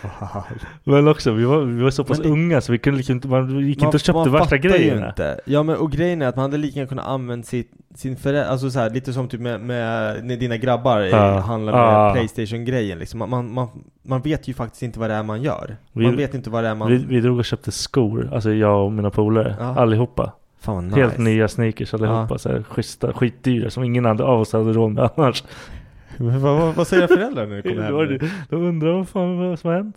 Speaker 5: [laughs] Men också, vi var, vi var så pass
Speaker 4: Men det-
Speaker 5: unga så vi kunde liksom inte, man gick inte och köpte värsta
Speaker 4: fattar ju
Speaker 5: grejerna.
Speaker 4: inte. Ja men och grejen är att man hade lika gärna kunnat använda sitt, sin förälder, alltså så här, lite som typ med, med när dina grabbar
Speaker 5: Ah.
Speaker 4: ah. handlar med
Speaker 5: Ah.
Speaker 4: Playstation-grejen liksom. Man, man, man, man vet ju faktiskt inte vad det är man gör.
Speaker 5: Vi-
Speaker 4: man vet inte vad det är man...
Speaker 5: Vi, vi drog och köpte skor, alltså jag och mina polare,
Speaker 4: Ja.
Speaker 5: allihopa.
Speaker 4: fan vad nice.
Speaker 5: Helt nya sneakers allihopa,
Speaker 4: Ja.
Speaker 5: så här, schyssta, skitdyra som ingen hade av oss hade råd med annars.
Speaker 4: Men [laughs] vad, vad, vad
Speaker 5: [laughs]
Speaker 4: säger era föräldrar när du kommer
Speaker 5: Då är
Speaker 4: hem?
Speaker 5: det- De undrar vad fan vad som har hänt.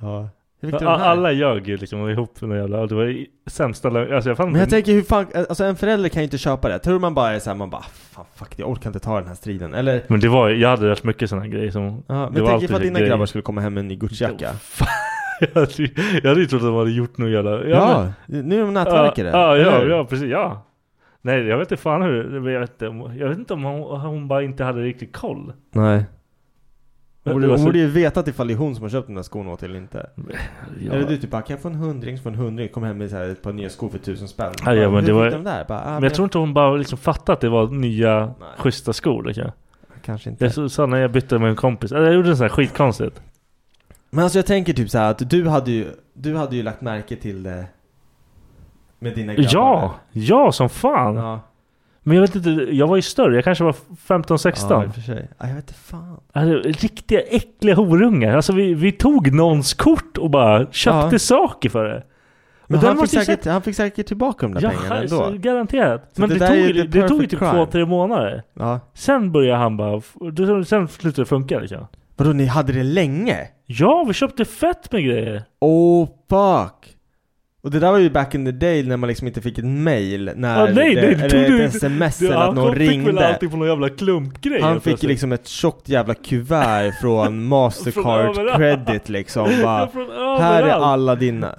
Speaker 4: Ja. Hur fick
Speaker 5: A-
Speaker 4: du de här?
Speaker 5: Alla ljög ju liksom och ihop med någon jävla, det var ju sämsta lögn. Alltså jag fann
Speaker 4: Men jag
Speaker 5: inte-
Speaker 4: tänker hur fan, alltså en förälder kan ju inte köpa det. Tror man bara är såhär, man bara fan fuck det, jag orkar inte ta den här striden. Eller?
Speaker 5: Men det var, jag hade rätt mycket sådana grejer som...
Speaker 4: Ja,
Speaker 5: det
Speaker 4: men
Speaker 5: var
Speaker 4: tänk
Speaker 5: alltid
Speaker 4: ifall dina
Speaker 5: grejer.
Speaker 4: grabbar skulle komma hem med en ny Gucci-jacka.
Speaker 5: [laughs] Jag hade, ju- jag hade ju trott att de hade gjort något jävla...
Speaker 4: Ja, nu är de nätverkare,
Speaker 5: Ja, ja,
Speaker 4: eller
Speaker 5: ja,
Speaker 4: hur?
Speaker 5: ja, precis, ja. Nej, jag vet inte fan hur, men jag vet inte, om- jag vet inte om hon, hon bara inte hade riktigt koll.
Speaker 4: Nej. Hon borde,
Speaker 5: Det var
Speaker 4: hon
Speaker 5: så-
Speaker 4: borde ju vetat ifall det är hon som har köpt de där skorna åt eller inte.
Speaker 5: Ja.
Speaker 4: Eller du typ bara, kan jag få en hundring så får jag en hundring? Kom hem med så här ett par nya skor för tusen spänn.
Speaker 5: Ja, ja,
Speaker 4: Bara,
Speaker 5: men det
Speaker 4: hur
Speaker 5: var,
Speaker 4: fick de där? Bara, ah,
Speaker 5: men jag tror inte hon bara liksom fattade att det var nya schyssta skor. Liksom.
Speaker 4: Kanske inte.
Speaker 5: Jag så- sa när jag bytte med en kompis, eller jag gjorde en sån här skitkonstigt.
Speaker 4: Men alltså jag tänker typ så här att du hade ju, du hade ju lagt märke till det med dina grabbar.
Speaker 5: Ja, ja som fan!
Speaker 4: Ja.
Speaker 5: Men jag vet inte, jag var ju större, jag kanske var 15-16.
Speaker 4: Ja, i och för sig. Ja, jag vet inte fan.
Speaker 5: Alltså, riktiga äckliga horungar. Alltså vi, vi tog någons kort och bara köpte
Speaker 4: Ja.
Speaker 5: saker för det.
Speaker 4: Men
Speaker 5: den
Speaker 4: han fick,
Speaker 5: måste ju
Speaker 4: säkert, han fick säkert tillbaka de där
Speaker 5: Ja, alltså-
Speaker 4: pengarna ändå.
Speaker 5: så garanterat.
Speaker 4: Så
Speaker 5: Men
Speaker 4: det
Speaker 5: det,
Speaker 4: där
Speaker 5: tog,
Speaker 4: är
Speaker 5: ju-
Speaker 4: the
Speaker 5: det tog ju
Speaker 4: perfect
Speaker 5: typ
Speaker 4: crime.
Speaker 5: två, tre månader.
Speaker 4: Ja.
Speaker 5: Sen började han bara... f- då- Sen slutade det funka liksom.
Speaker 4: Vadå, ni hade det länge?
Speaker 5: Ja, vi köpte fett med grejer.
Speaker 4: Oh fuck! Och det där var ju back in the day när man liksom inte fick ett mail när
Speaker 5: ah, nej,
Speaker 4: det,
Speaker 5: nej, det
Speaker 4: eller
Speaker 5: tog
Speaker 4: ett
Speaker 5: du inte.
Speaker 4: sms
Speaker 5: Du,
Speaker 4: eller att
Speaker 5: han
Speaker 4: någon
Speaker 5: fick väl
Speaker 4: ringde.
Speaker 5: alltid på någon jävla klumpgrej.
Speaker 4: Han
Speaker 5: helt
Speaker 4: fick ju
Speaker 5: plötsligt.
Speaker 4: liksom ett tjockt
Speaker 5: [laughs]
Speaker 4: jävla kuvert från Mastercard
Speaker 5: överallt.
Speaker 4: credit liksom. Bara,
Speaker 5: Ja, från
Speaker 4: här är
Speaker 5: överallt.
Speaker 4: alla dina.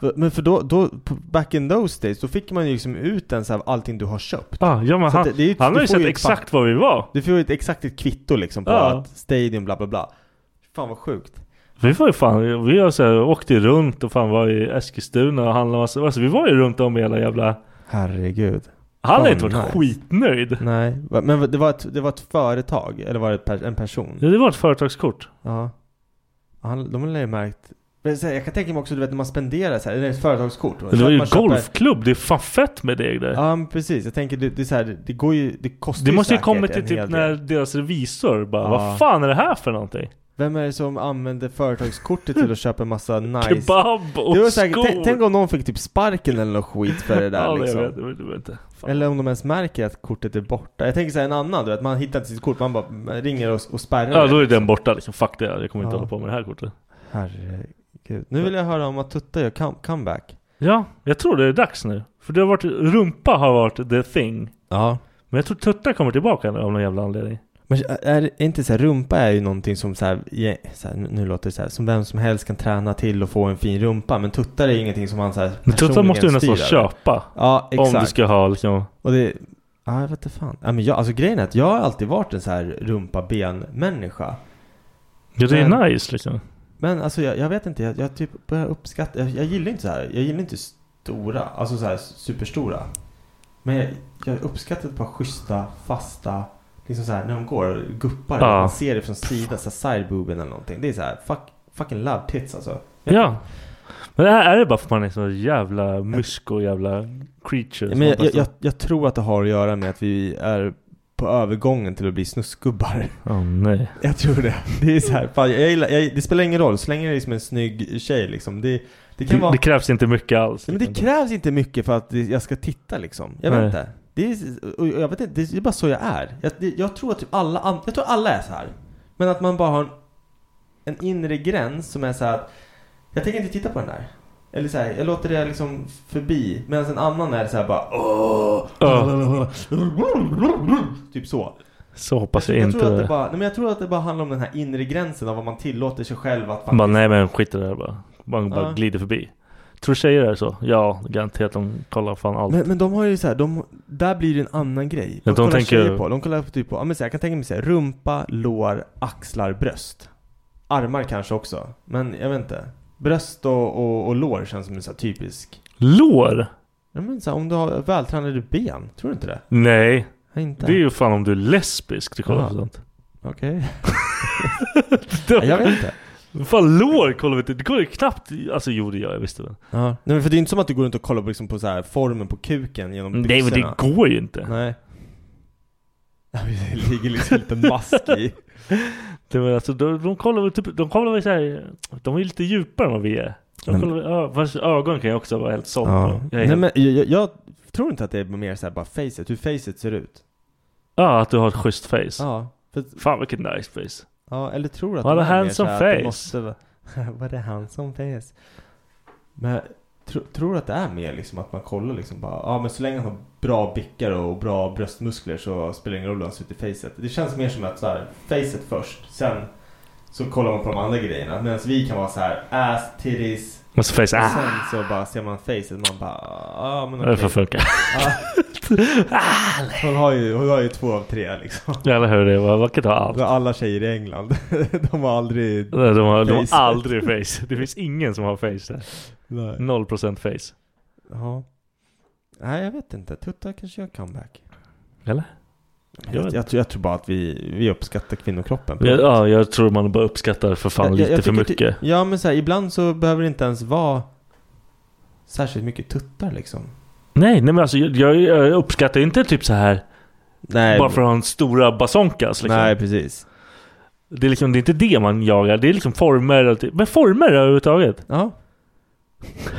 Speaker 4: För- Men för då, då, på- back in those days, då fick man ju liksom ut den så här, allting du har köpt.
Speaker 5: Ah, ja, men
Speaker 4: Så att
Speaker 5: han,
Speaker 4: det- det är ju-
Speaker 5: han
Speaker 4: du
Speaker 5: har ju
Speaker 4: får
Speaker 5: sett
Speaker 4: ju ett
Speaker 5: exakt
Speaker 4: fack.
Speaker 5: var vi var.
Speaker 4: Du får ju ett exakt ett kvitto liksom på
Speaker 5: Ja.
Speaker 4: att Stadium bla bla bla. Fan vad sjukt.
Speaker 5: Vi var ju fan, vi har så här, åkte ju runt och fan var i Eskilstuna och handlade massa, alltså vi var ju runt om i hela jävla
Speaker 4: Herregud.
Speaker 5: Han har
Speaker 4: Fan,
Speaker 5: inte varit
Speaker 4: nice. Mm.
Speaker 5: skitnöjd.
Speaker 4: Nej, va- men va- det var ett, det var ett företag, eller var det ett per- en person?
Speaker 5: Ja, det var ett företagskort.
Speaker 4: Ja. Han, de har ju märkt... Men så här, Jag kan tänka mig också, du vet när man spenderar så här, eller ett företagskort.
Speaker 5: Det
Speaker 4: Så
Speaker 5: var
Speaker 4: att
Speaker 5: ju
Speaker 4: man köper-
Speaker 5: golfklubb, det är fan fett med det där.
Speaker 4: Ja men precis, jag tänker det, det, är så här, det- det går ju, det kostar
Speaker 5: det måste ju
Speaker 4: säkert
Speaker 5: kommit
Speaker 4: en
Speaker 5: till typ
Speaker 4: hel
Speaker 5: när
Speaker 4: del.
Speaker 5: deras revisor bara
Speaker 4: Ja.
Speaker 5: Vad fan är det här för någonting?
Speaker 4: Vem är det som använder företagskortet till att köpa
Speaker 5: [laughs]
Speaker 4: en massa nice...
Speaker 5: Kebab och
Speaker 4: det var säkert,
Speaker 5: skor!
Speaker 4: tänk, tänk om någon fick typ sparken eller något skit
Speaker 5: [laughs]
Speaker 4: för det där
Speaker 5: ja,
Speaker 4: liksom.
Speaker 5: jag vet, jag vet, jag vet inte. Fan.
Speaker 4: Eller om de ens märker att kortet är borta. Jag tänker såhär en annan, du vet man hittar inte sitt kort, man bara ringer och, och spärrar
Speaker 5: Ja
Speaker 4: det.
Speaker 5: då är den borta liksom, fuck det, jag kommer inte
Speaker 4: Ja.
Speaker 5: hålla på med det här kortet.
Speaker 4: Herregud. Nu vill jag höra om att Tutta gör come- comeback.
Speaker 5: Ja, jag tror det är dags nu. För det har varit, rumpa har varit the thing.
Speaker 4: Ja.
Speaker 5: Men jag tror tuttar kommer tillbaka nu av någon jävla anledning.
Speaker 4: Men är, är inte så här, rumpa är ju någonting som så här, ja, så här, nu- nu låter det så här, som vem som helst kan träna till och få en fin rumpa. Men tuttar är ingenting som man så här
Speaker 5: Men tuttar
Speaker 4: personligen
Speaker 5: måste du nästan
Speaker 4: styr över.
Speaker 5: köpa.
Speaker 4: Ja, exakt.
Speaker 5: Om du ska ha liksom...
Speaker 4: Och det, ja jag vet inte fan. Ja, men jag, alltså grejen är att jag har alltid varit en så här rumpa-ben-människa.
Speaker 5: Ja det är
Speaker 4: Men-
Speaker 5: nice liksom.
Speaker 4: Men alltså jag, jag vet inte, jag, jag typ börjar uppskatta, jag, jag gillar inte så här, jag gillar inte stora, alltså så här superstora. Men jag, jag uppskattar ett par schyssta, fasta, liksom så här när de går, guppar,
Speaker 5: Ja.
Speaker 4: man ser det från sidan, så här sidebooben eller någonting. Det är så här, fuck, fucking love tits alltså.
Speaker 5: Ja. Men det här är det bara för att man är så jävla musko jävla creature. som
Speaker 4: Men
Speaker 5: man
Speaker 4: jag, jag,
Speaker 5: testar.
Speaker 4: jag, jag tror att det har att göra med att vi är på övergången till att bli snuskgubbar. [laughs]
Speaker 5: Åh nej.
Speaker 4: Jag tror det. Det är så här, fan, jag gillar, jag, det spelar ingen roll, så länge det är liksom en snygg tjej liksom. Det, det kan
Speaker 5: Det,
Speaker 4: vara...
Speaker 5: det krävs inte mycket alls.
Speaker 4: Nej, men det krävs inte mycket för att det- jag ska titta liksom. Jag vet
Speaker 5: Nej.
Speaker 4: inte. Det är, och jag vet inte, det är bara så jag är. Jag, det, jag tror att typ alla, an- jag tror alla är så här. Men att man bara har en, en inre gräns som är så här att jag tänker inte titta på den där. Eller så här, jag låter det liksom förbi. Medan en annan är så här bara åh, Typ så.
Speaker 5: Så hoppas jag,
Speaker 4: Jag
Speaker 5: inte
Speaker 4: tror, att
Speaker 5: det.
Speaker 4: det bara, nej men jag tror att det bara handlar om den här inre gränsen av vad man tillåter sig själv att
Speaker 5: Man bara
Speaker 4: faktiskt-
Speaker 5: nej men skit i det här bara. Man bara
Speaker 4: Ja.
Speaker 5: glider förbi. Tror tjejer är så? Ja, garanterat de kollar fan allt.
Speaker 4: Men, men de har ju så här, de, där blir det en annan grej. De,
Speaker 5: Ja, de
Speaker 4: kollar
Speaker 5: tänker-
Speaker 4: tjejer på, de kollar på typ på, ja, men så här, jag kan tänka mig säga rumpa, lår, axlar, bröst. Armar kanske också, men jag vet inte. Bröst och, och, och lår känns som en så här typisk.
Speaker 5: Lår?
Speaker 4: Ja, men så här, om du har vältränade ben, tror du inte det?
Speaker 5: Nej.
Speaker 4: Ja, inte.
Speaker 5: Det är ju fan om du är lesbisk du kollar
Speaker 4: Ja.
Speaker 5: på sånt.
Speaker 4: Okej.
Speaker 5: [laughs]
Speaker 4: Ja, jag vet inte.
Speaker 5: Fan lår kollar vi inte. Det går ju knappt. Alltså jo det gör jag visst det.
Speaker 4: Ja. Nej, men för det är inte som att du går runt och kollar på, liksom, på så här, formen på kuken genom
Speaker 5: Nej men det
Speaker 4: byxorna.
Speaker 5: går ju inte.
Speaker 4: Nej. Ja, Det ligger liksom en liten mask i.
Speaker 5: Det var alltså, de, de kollar väl typ, de kollar väl såhär, de är lite djupare än vad vi är.
Speaker 4: Nej,
Speaker 5: De kollar, väl- ja, fast ögon kan ju också vara helt sån.
Speaker 4: Ja.
Speaker 5: Jag är
Speaker 4: Nej,
Speaker 5: helt,
Speaker 4: men jag, jag, jag tror inte att det är mer så här bara facet, hur facet ser ut.
Speaker 5: ja, att du har ett schysst face.
Speaker 4: Ja.
Speaker 5: Fan vilket nice face.
Speaker 4: Ja, eller tror att
Speaker 5: What a
Speaker 4: de är mer
Speaker 5: handsome
Speaker 4: så här att det
Speaker 5: face.
Speaker 4: måste vara- [laughs] What a handsome face. Men tro, tror att det är mer liksom att man kollar liksom bara, ja men så länge han har bra bickar och bra bröstmuskler så spelar det ingen roll hur han ser ut i facet. Det känns mer som att så här, facet först, sen så kollar man på de andra grejerna. Medan vi kan vara så här, ass, titties.
Speaker 5: Och så face,
Speaker 4: och
Speaker 5: ah.
Speaker 4: sen så bara ser man facet man bara, ja men
Speaker 5: Ja, det får funka. [laughs]
Speaker 4: Ja. Hon har, ju, hon har ju två av tre liksom.
Speaker 5: Ja, Eller hur? Det var vackert att ha allt.
Speaker 4: Alla tjejer i England, [laughs] de har aldrig
Speaker 5: Nej, De har, de har
Speaker 4: Face.
Speaker 5: aldrig face. Det finns ingen som har face där.
Speaker 4: Nej.
Speaker 5: 0% face.
Speaker 4: Ja. Nej, jag vet inte. Tuttar kanske gör comeback.
Speaker 5: Eller? Jag
Speaker 4: Jag, jag,
Speaker 5: vet
Speaker 4: tror, jag tror bara att vi, vi uppskattar kvinnokroppen.
Speaker 5: Ja, ja, jag tror man bara uppskattar för fan
Speaker 4: Jag- jag-
Speaker 5: lite
Speaker 4: jag
Speaker 5: för
Speaker 4: tycker ty-
Speaker 5: mycket.
Speaker 4: ja, men så här, ibland så behöver det inte ens vara särskilt mycket tuttar liksom.
Speaker 5: Nej, nej men alltså jag, jag- jag uppskattar inte typ så här
Speaker 4: Nej,
Speaker 5: bara för att ha en stora basonkas liksom.
Speaker 4: nej precis.
Speaker 5: Det är liksom, det är inte det man jagar. Det är liksom former och typ. Men former
Speaker 4: [laughs]
Speaker 5: överhuvudtaget.
Speaker 4: Ja.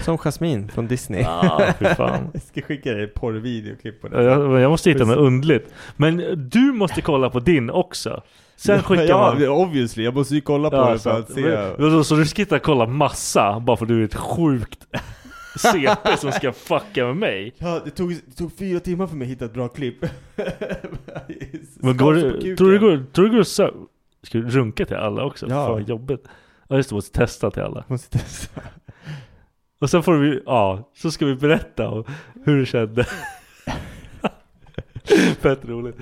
Speaker 4: Som Jasmine från Disney.
Speaker 5: Ja, Ah, fy fan.
Speaker 4: jag ska skicka dig ett porrvideoklipp på det.
Speaker 5: Jag, jag måste hitta något underligt. Men du måste kolla på din också. Sen skickar
Speaker 4: ja,
Speaker 5: man...
Speaker 4: Ja, obviously. Jag måste ju kolla på det
Speaker 5: så,
Speaker 4: för att se.
Speaker 5: men- så, så du ska inte kolla massa bara för att du är ett sjukt [laughs] CP som ska fucka med mig?
Speaker 4: Ja, det tog, det tog fyra timmar för mig att hitta ett bra klipp. [laughs]
Speaker 5: Men går,
Speaker 4: Skavs på
Speaker 5: det-
Speaker 4: kuken.
Speaker 5: tror du det går, tror du det går så, Ska du runka till alla också?
Speaker 4: Ja.
Speaker 5: Ja. Fan vad jobbigt. Ja just det, måste testa till alla.
Speaker 4: Måste testa.
Speaker 5: Och sen får vi, ja, så ska vi berätta om hur det kände. [laughs] Fett roligt.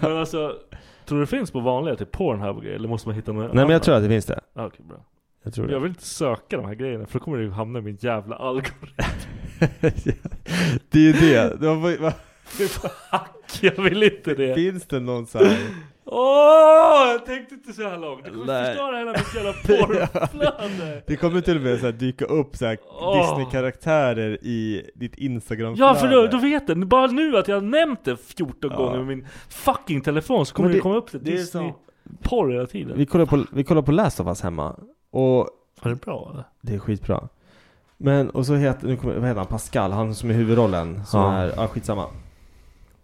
Speaker 5: Men alltså, tror du det finns på vanliga, typ Pornhub och grejer? Eller måste man hitta någon
Speaker 4: Nej men jag tror att det finns det.
Speaker 5: Ja, okej, bra.
Speaker 4: Jag tror
Speaker 5: Jag
Speaker 4: det.
Speaker 5: vill inte söka de här grejerna för då kommer det ju hamna i min jävla algoritm.
Speaker 4: det är ju det. Det var- va-
Speaker 5: Fuck, jag vill inte det.
Speaker 4: Finns det någon så här?
Speaker 5: Åh, jag tänkte inte så här långt. Du kommer
Speaker 4: Nej.
Speaker 5: förstöra hela mitt [laughs] jävla porrflöde.
Speaker 4: Det kommer till och med så här dyka upp så här
Speaker 5: Åh.
Speaker 4: Disney-karaktärer i ditt instagram
Speaker 5: Ja för då, då vet den, bara nu att jag har nämnt det 14 gånger med min fucking telefon så kommer
Speaker 4: Men
Speaker 5: det,
Speaker 4: det-
Speaker 5: komma upp det,
Speaker 4: det är så-
Speaker 5: Disney-porr hela tiden.
Speaker 4: Vi kollar på, vi kollar på Last of Us hemma. Och
Speaker 5: Var det bra eller?
Speaker 4: det är skitbra. Men och så heter, nu kommer, vad heter han? Pascal, han som är huvudrollen. Som
Speaker 5: Ja.
Speaker 4: är, ja skitsamma.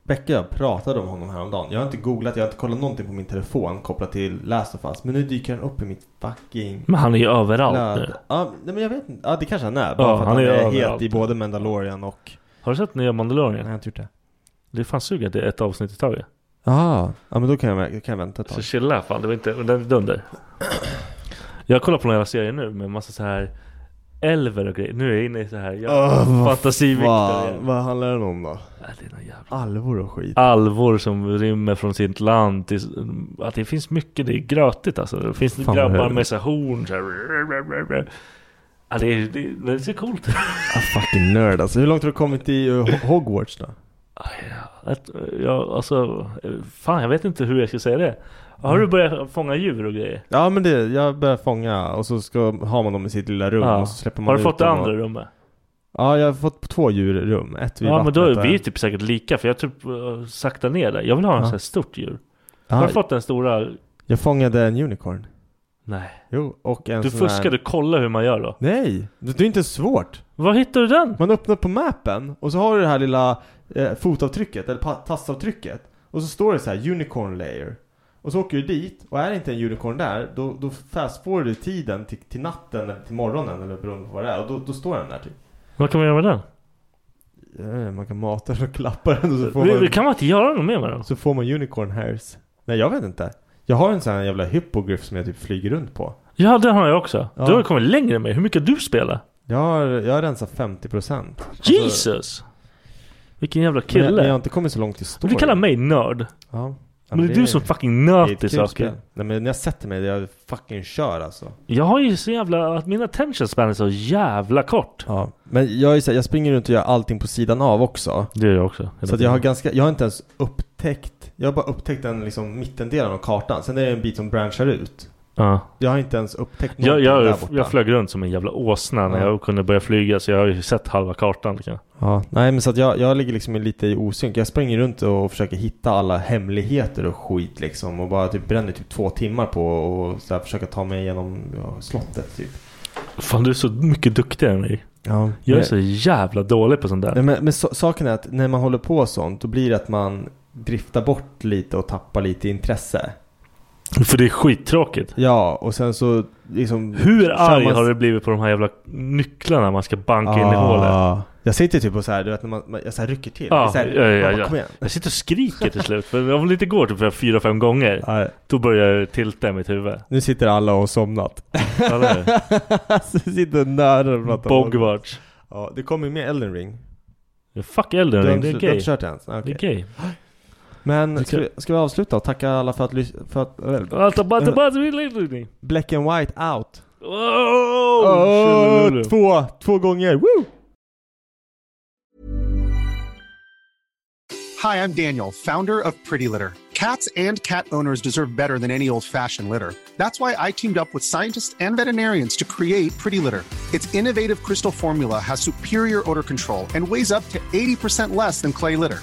Speaker 4: Becka pratade om honom häromdagen. Jag har inte googlat, jag har inte kollat någonting på min telefon kopplat till Last of Us. Men nu dyker han upp i mitt fucking
Speaker 5: Men han är ju överallt nu.
Speaker 4: Blöd. Ja, nej, men jag vet inte. Ja, det kanske han är. Bara
Speaker 5: Ja,
Speaker 4: för
Speaker 5: han
Speaker 4: att han
Speaker 5: är
Speaker 4: är,
Speaker 5: överallt.
Speaker 4: het i både Mandalorian och...
Speaker 5: Har du sett nya
Speaker 4: Nej,
Speaker 5: Mandalorian?
Speaker 4: han har inte gjort det.
Speaker 5: Det fan suger att det är ett avsnitt i taget.
Speaker 4: Ja, ja men då kan jag, kan jag vänta ett tag.
Speaker 5: Så chilla fan, det var inte, den är dunder. [clears throat] Jag kollar på några serier nu med massa så här Elver och grejer. Nu är jag inne i så här jag,
Speaker 4: Åh, vad
Speaker 5: fantasiviktare.
Speaker 4: fan. Vad handlar den om då?
Speaker 5: Ja, Äh, det är någon jävla
Speaker 4: Alvor och skit.
Speaker 5: alvor som rymmer från sitt land till, att det finns mycket, det är grötigt alltså. Det finns
Speaker 4: Fan, vad
Speaker 5: grabbar
Speaker 4: härligt.
Speaker 5: med så här horn så här. Ja, det, är- det, det ser coolt ut.
Speaker 4: Ah, fucking nörd alltså. Hur långt har du kommit i eh, Ho- Hogwarts då?
Speaker 5: Att, Ah, ja, alltså, fan jag vet inte hur jag ska säga det. Har du börjat fånga djur och grejer?
Speaker 4: Ja men det, jag börjar fånga och så ska, har man dem i sitt lilla rum
Speaker 5: Ja.
Speaker 4: och så släpper man
Speaker 5: Har du
Speaker 4: ut
Speaker 5: fått det
Speaker 4: dem
Speaker 5: andra
Speaker 4: Och...
Speaker 5: rummet?
Speaker 4: Ja jag har fått två djurrum. Ett vid
Speaker 5: Ja men
Speaker 4: vattnet
Speaker 5: då är
Speaker 4: och
Speaker 5: vi
Speaker 4: en-
Speaker 5: typ säkert lika för jag typ eh, saktar ner det. Jag vill ha en
Speaker 4: Ja.
Speaker 5: sån här stort djur. Har
Speaker 4: ja,
Speaker 5: du fått den stora?
Speaker 4: Jag fångade en unicorn.
Speaker 5: Nej.
Speaker 4: Jo, och en
Speaker 5: Du
Speaker 4: sån här-
Speaker 5: fuskade, kolla hur man gör då.
Speaker 4: Nej! Det det är inte svårt.
Speaker 5: Var hittar du den?
Speaker 4: Man öppnar på mappen och så har du det här lilla eh, fotavtrycket eller pa- tassavtrycket Och så står det så här unicorn layer Och så åker du dit och är det inte en unicorn där då, då fastforwardar du tiden till, till natten eller till morgonen eller beroende på vad det är och då, då står den där typ
Speaker 5: Vad kan man göra med den?
Speaker 4: Eh, Man kan mata den och klappa den och så får
Speaker 5: Vi-
Speaker 4: man,
Speaker 5: vi Kan man inte göra något mer med den?
Speaker 4: så får man unicorn hairs Nej jag vet inte Jag har en sån här jävla hippogriff som jag typ flyger runt på
Speaker 5: Ja den har jag också.
Speaker 4: Ja.
Speaker 5: Du har kommit längre med. Hur mycket har du spelar?
Speaker 4: Jag har, jag har rensat 50% Alltså,
Speaker 5: Jesus! Vilken jävla
Speaker 4: men jag, men
Speaker 5: kille.
Speaker 4: jag har inte kommit så långt i
Speaker 5: Men
Speaker 4: story
Speaker 5: du kallar mig nörd.
Speaker 4: ja. Ja,
Speaker 5: Men det är du som fucking
Speaker 4: Det är ett
Speaker 5: nöt i
Speaker 4: kul
Speaker 5: saker.
Speaker 4: spel. Nej men när jag sätter mig, jag fucking kör alltså.
Speaker 5: Jag har ju så jävla... Att min attention span är så jävla kort.
Speaker 4: Ja. Men jag, är så här, jag springer runt och gör allting på sidan av också.
Speaker 5: Det gör jag också.
Speaker 4: Så att jag har ganska, jag har inte ens upptäckt, jag har bara upptäckt den liksom mittendelen av kartan. Sen är det en bit som branchar ut.
Speaker 5: Ja.
Speaker 4: Jag har inte ens upptäckt
Speaker 5: Jag,
Speaker 4: någonting
Speaker 5: jag,
Speaker 4: där borta.
Speaker 5: jag flög runt som en jävla åsna när
Speaker 4: Ja.
Speaker 5: jag kunde börja flyga så jag har ju sett halva kartan. Liksom.
Speaker 4: Ja, nej men så att jag, jag ligger liksom lite i osynk. Jag springer runt och försöker hitta alla hemligheter och skit liksom. Och bara typ bränner typ två timmar på och så här, försöka ta mig igenom ja, slottet typ.
Speaker 5: Fan du är så mycket duktigare än mig.
Speaker 4: Ja,
Speaker 5: Jag är så jävla dålig på sånt där.
Speaker 4: Nej, men men so- saken är att när man håller på sånt då blir det att man drifta bort lite och tappa lite intresse.
Speaker 5: För det är skittråkigt.
Speaker 4: Ja, och sen så liksom...
Speaker 5: Hur arg
Speaker 4: samma-
Speaker 5: har du blivit på de här jävla nycklarna man ska banka in i hålet?
Speaker 4: Ah, Jag sitter typ och så här, du vet när man, man jag så här rycker till.
Speaker 5: Ja,
Speaker 4: så här,
Speaker 5: ja, ja,
Speaker 4: man bara,
Speaker 5: ja.
Speaker 4: Kom igen.
Speaker 5: Jag sitter och skriker till slut. För om det inte går typ så här fyra, fem gånger. Då börjar jag tilta i mitt huvud.
Speaker 4: Nu sitter alla och har somnat.
Speaker 5: Alla är-
Speaker 4: [laughs] så sitter nära och pratar om-
Speaker 5: Bogwarts.
Speaker 4: Ja, det kommer ju med Elden ring.
Speaker 5: Fuck Elden
Speaker 4: Du har
Speaker 5: Ring, det är
Speaker 4: inte- du har
Speaker 5: gay.
Speaker 4: inte kört än? Okej.
Speaker 5: Det är gay.
Speaker 4: Men
Speaker 5: Du
Speaker 4: ska
Speaker 5: kan-
Speaker 4: vi, ska vi avsluta och tacka alla för att lys- för att...
Speaker 5: Alta batta batta batta
Speaker 4: Black and white out.
Speaker 5: Oh,
Speaker 4: Åh,
Speaker 5: tjurululu.
Speaker 4: två, två gånger, woo!
Speaker 7: Hi, I'm Daniel, founder of Pretty Litter. Cats and cat owners deserve better than any old fashioned litter. That's why I teamed up with scientists and veterinarians to create Pretty Litter. Its innovative crystal formula has superior odor control and weighs up to 80% less than clay litter.